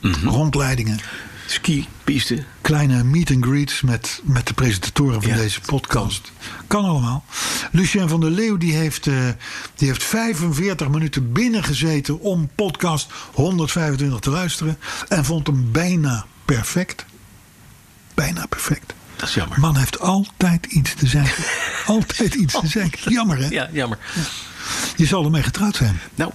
Speaker 4: Mhm.
Speaker 5: rondleidingen,
Speaker 4: Ski, piste.
Speaker 5: kleine meet and greets met, met de presentatoren van
Speaker 4: Ja,
Speaker 5: deze podcast. Kan allemaal. Lucien van der Leeuw die heeft, eh, die heeft 45 minuten binnengezeten om podcast 125 te luisteren. En vond hem bijna perfect. Bijna perfect.
Speaker 4: Dat is jammer.
Speaker 5: Man heeft altijd iets te zeggen. altijd iets te zeggen. Jammer hè?
Speaker 4: Ja, jammer.
Speaker 5: Je zal ermee getrouwd zijn.
Speaker 4: Nou,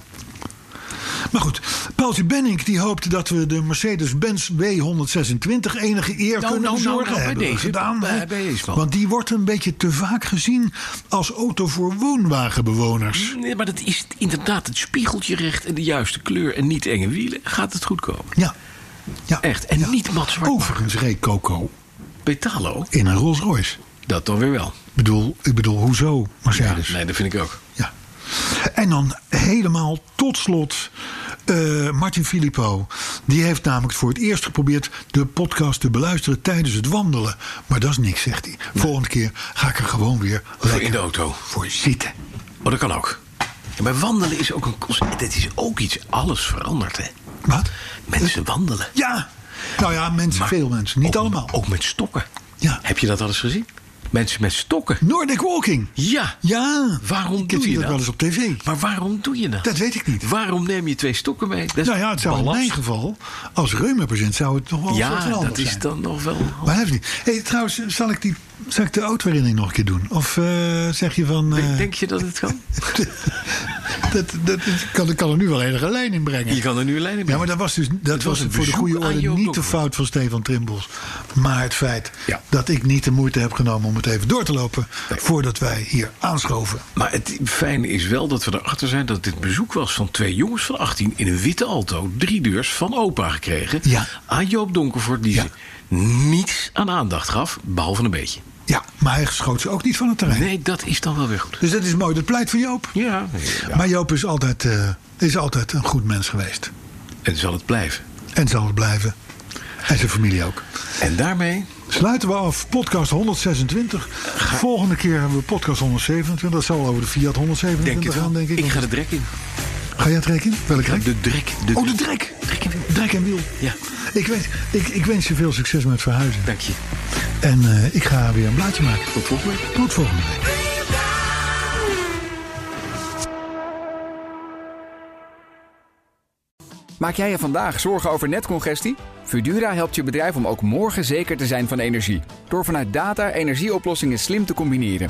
Speaker 5: Maar goed, Paultje Benning die hoopte dat we de Mercedes-Benz W126 enige eer
Speaker 4: nou,
Speaker 5: kunnen
Speaker 4: nou,
Speaker 5: bezorgen.
Speaker 4: nou, bij
Speaker 5: hebben we
Speaker 4: deze,
Speaker 5: gedaan.
Speaker 4: bij-
Speaker 5: hè?
Speaker 4: bij deze man.
Speaker 5: Want die wordt een beetje te vaak gezien als auto voor woonwagenbewoners.
Speaker 4: nee, maar dat is inderdaad het spiegeltje recht en de juiste kleur en niet enge wielen. Gaat het goed komen.
Speaker 5: Ja. ja.
Speaker 4: Echt, en
Speaker 5: Ja.
Speaker 4: niet mat zwart
Speaker 5: Overigens reed Coco
Speaker 4: Petalo,
Speaker 5: in een Rolls Royce.
Speaker 4: dat dan weer wel.
Speaker 5: Ik bedoel, ik bedoel, hoezo Mercedes?
Speaker 4: Nee, dat vind ik ook.
Speaker 5: Ja. En dan helemaal tot slot eh, Martin Filippo. Die heeft namelijk voor het eerst geprobeerd de podcast te beluisteren tijdens het wandelen. Maar dat is niks, zegt hij. Volgende keer ga ik er gewoon weer
Speaker 4: Voor in de
Speaker 5: lekker
Speaker 4: auto.
Speaker 5: voor zitten.
Speaker 4: Maar dat kan ook. Ja, maar wandelen is ook een concept. Het is ook iets. Alles verandert, hè?
Speaker 5: Wat?
Speaker 4: Mensen wandelen.
Speaker 5: Ja! Nou ja, mensen,
Speaker 4: Maar
Speaker 5: veel mensen. Niet
Speaker 4: ook-
Speaker 5: allemaal.
Speaker 4: Ook met stokken.
Speaker 5: Ja.
Speaker 4: Heb je dat al eens gezien? Mensen met stokken.
Speaker 5: Nordic walking.
Speaker 4: Ja.
Speaker 5: Ja.
Speaker 4: Waarom
Speaker 5: Ik
Speaker 4: doe
Speaker 5: zie
Speaker 4: je
Speaker 5: dat
Speaker 4: dat?
Speaker 5: wel eens op tv.
Speaker 4: Maar waarom doe je dat?
Speaker 5: Dat weet ik niet.
Speaker 4: Waarom neem je twee stokken mee? Dat is
Speaker 5: Nou ja, het zou in
Speaker 4: ballast.
Speaker 5: mijn geval, als reumapatiënt, zou het nog wel een soort van
Speaker 4: Ja,
Speaker 5: anders
Speaker 4: dat is
Speaker 5: zijn.
Speaker 4: dan nog wel.
Speaker 5: Maar dat heeft niet. Hey, trouwens, zal ik, die, zal ik de autoherinnering nog een keer doen? Of eh, zeg je van... eh,
Speaker 4: Denk je dat het kan?
Speaker 5: dat, dat, dat kan, ik kan er nu wel enige lijn in brengen.
Speaker 4: Je kan er nu een lijn
Speaker 5: Ja,
Speaker 4: in brengen.
Speaker 5: maar dat was dus dat
Speaker 4: Het was
Speaker 5: was
Speaker 4: een
Speaker 5: voor de goede
Speaker 4: bezoek aan
Speaker 5: orde
Speaker 4: Joop
Speaker 5: niet de
Speaker 4: Donker.
Speaker 5: fout van Stefan Trimbos. Maar het feit
Speaker 4: Ja.
Speaker 5: dat ik niet de moeite heb genomen om het even door te lopen... voordat wij hier aanschoven.
Speaker 4: Maar het fijne is wel dat we erachter zijn dat dit bezoek was van twee jongens van 18 in een witte auto, drie deurs van opa gekregen.
Speaker 5: Ja.
Speaker 4: Aan Joop Donkervoort, die
Speaker 5: Ja.
Speaker 4: ze niets aan aandacht gaf, behalve een beetje.
Speaker 5: Ja, maar hij schoot ze ook niet van het terrein.
Speaker 4: Nee, dat is dan wel weer goed.
Speaker 5: Dus dat is mooi, dat pleit voor Joop.
Speaker 4: Ja,
Speaker 5: Maar Joop is altijd, eh, is altijd een goed mens geweest.
Speaker 4: en zal het blijven.
Speaker 5: En zal het blijven. En zijn familie ook.
Speaker 4: En daarmee
Speaker 5: Sluiten we af podcast 126. Volgende keer hebben we podcast 127. Dat zal over de Fiat 127
Speaker 4: denk ik,
Speaker 5: gaan, denk ik.
Speaker 4: ik ga de drek in.
Speaker 5: Ga jij het rekenen? Welk rek?
Speaker 4: De drek. De
Speaker 5: Oh, de drek.
Speaker 4: Drek en wiel.
Speaker 5: Drek en wiel.
Speaker 4: Ja,
Speaker 5: Ik wens, ik, ik wens je veel succes met verhuizen.
Speaker 4: dank je.
Speaker 5: En eh, ik ga weer een blaadje maken.
Speaker 4: Tot volgende week.
Speaker 5: Tot volgende week.
Speaker 7: Maak jij je vandaag zorgen over netcongestie? Fudura helpt je bedrijf om ook morgen zeker te zijn van energie. Door vanuit data energieoplossingen slim te combineren.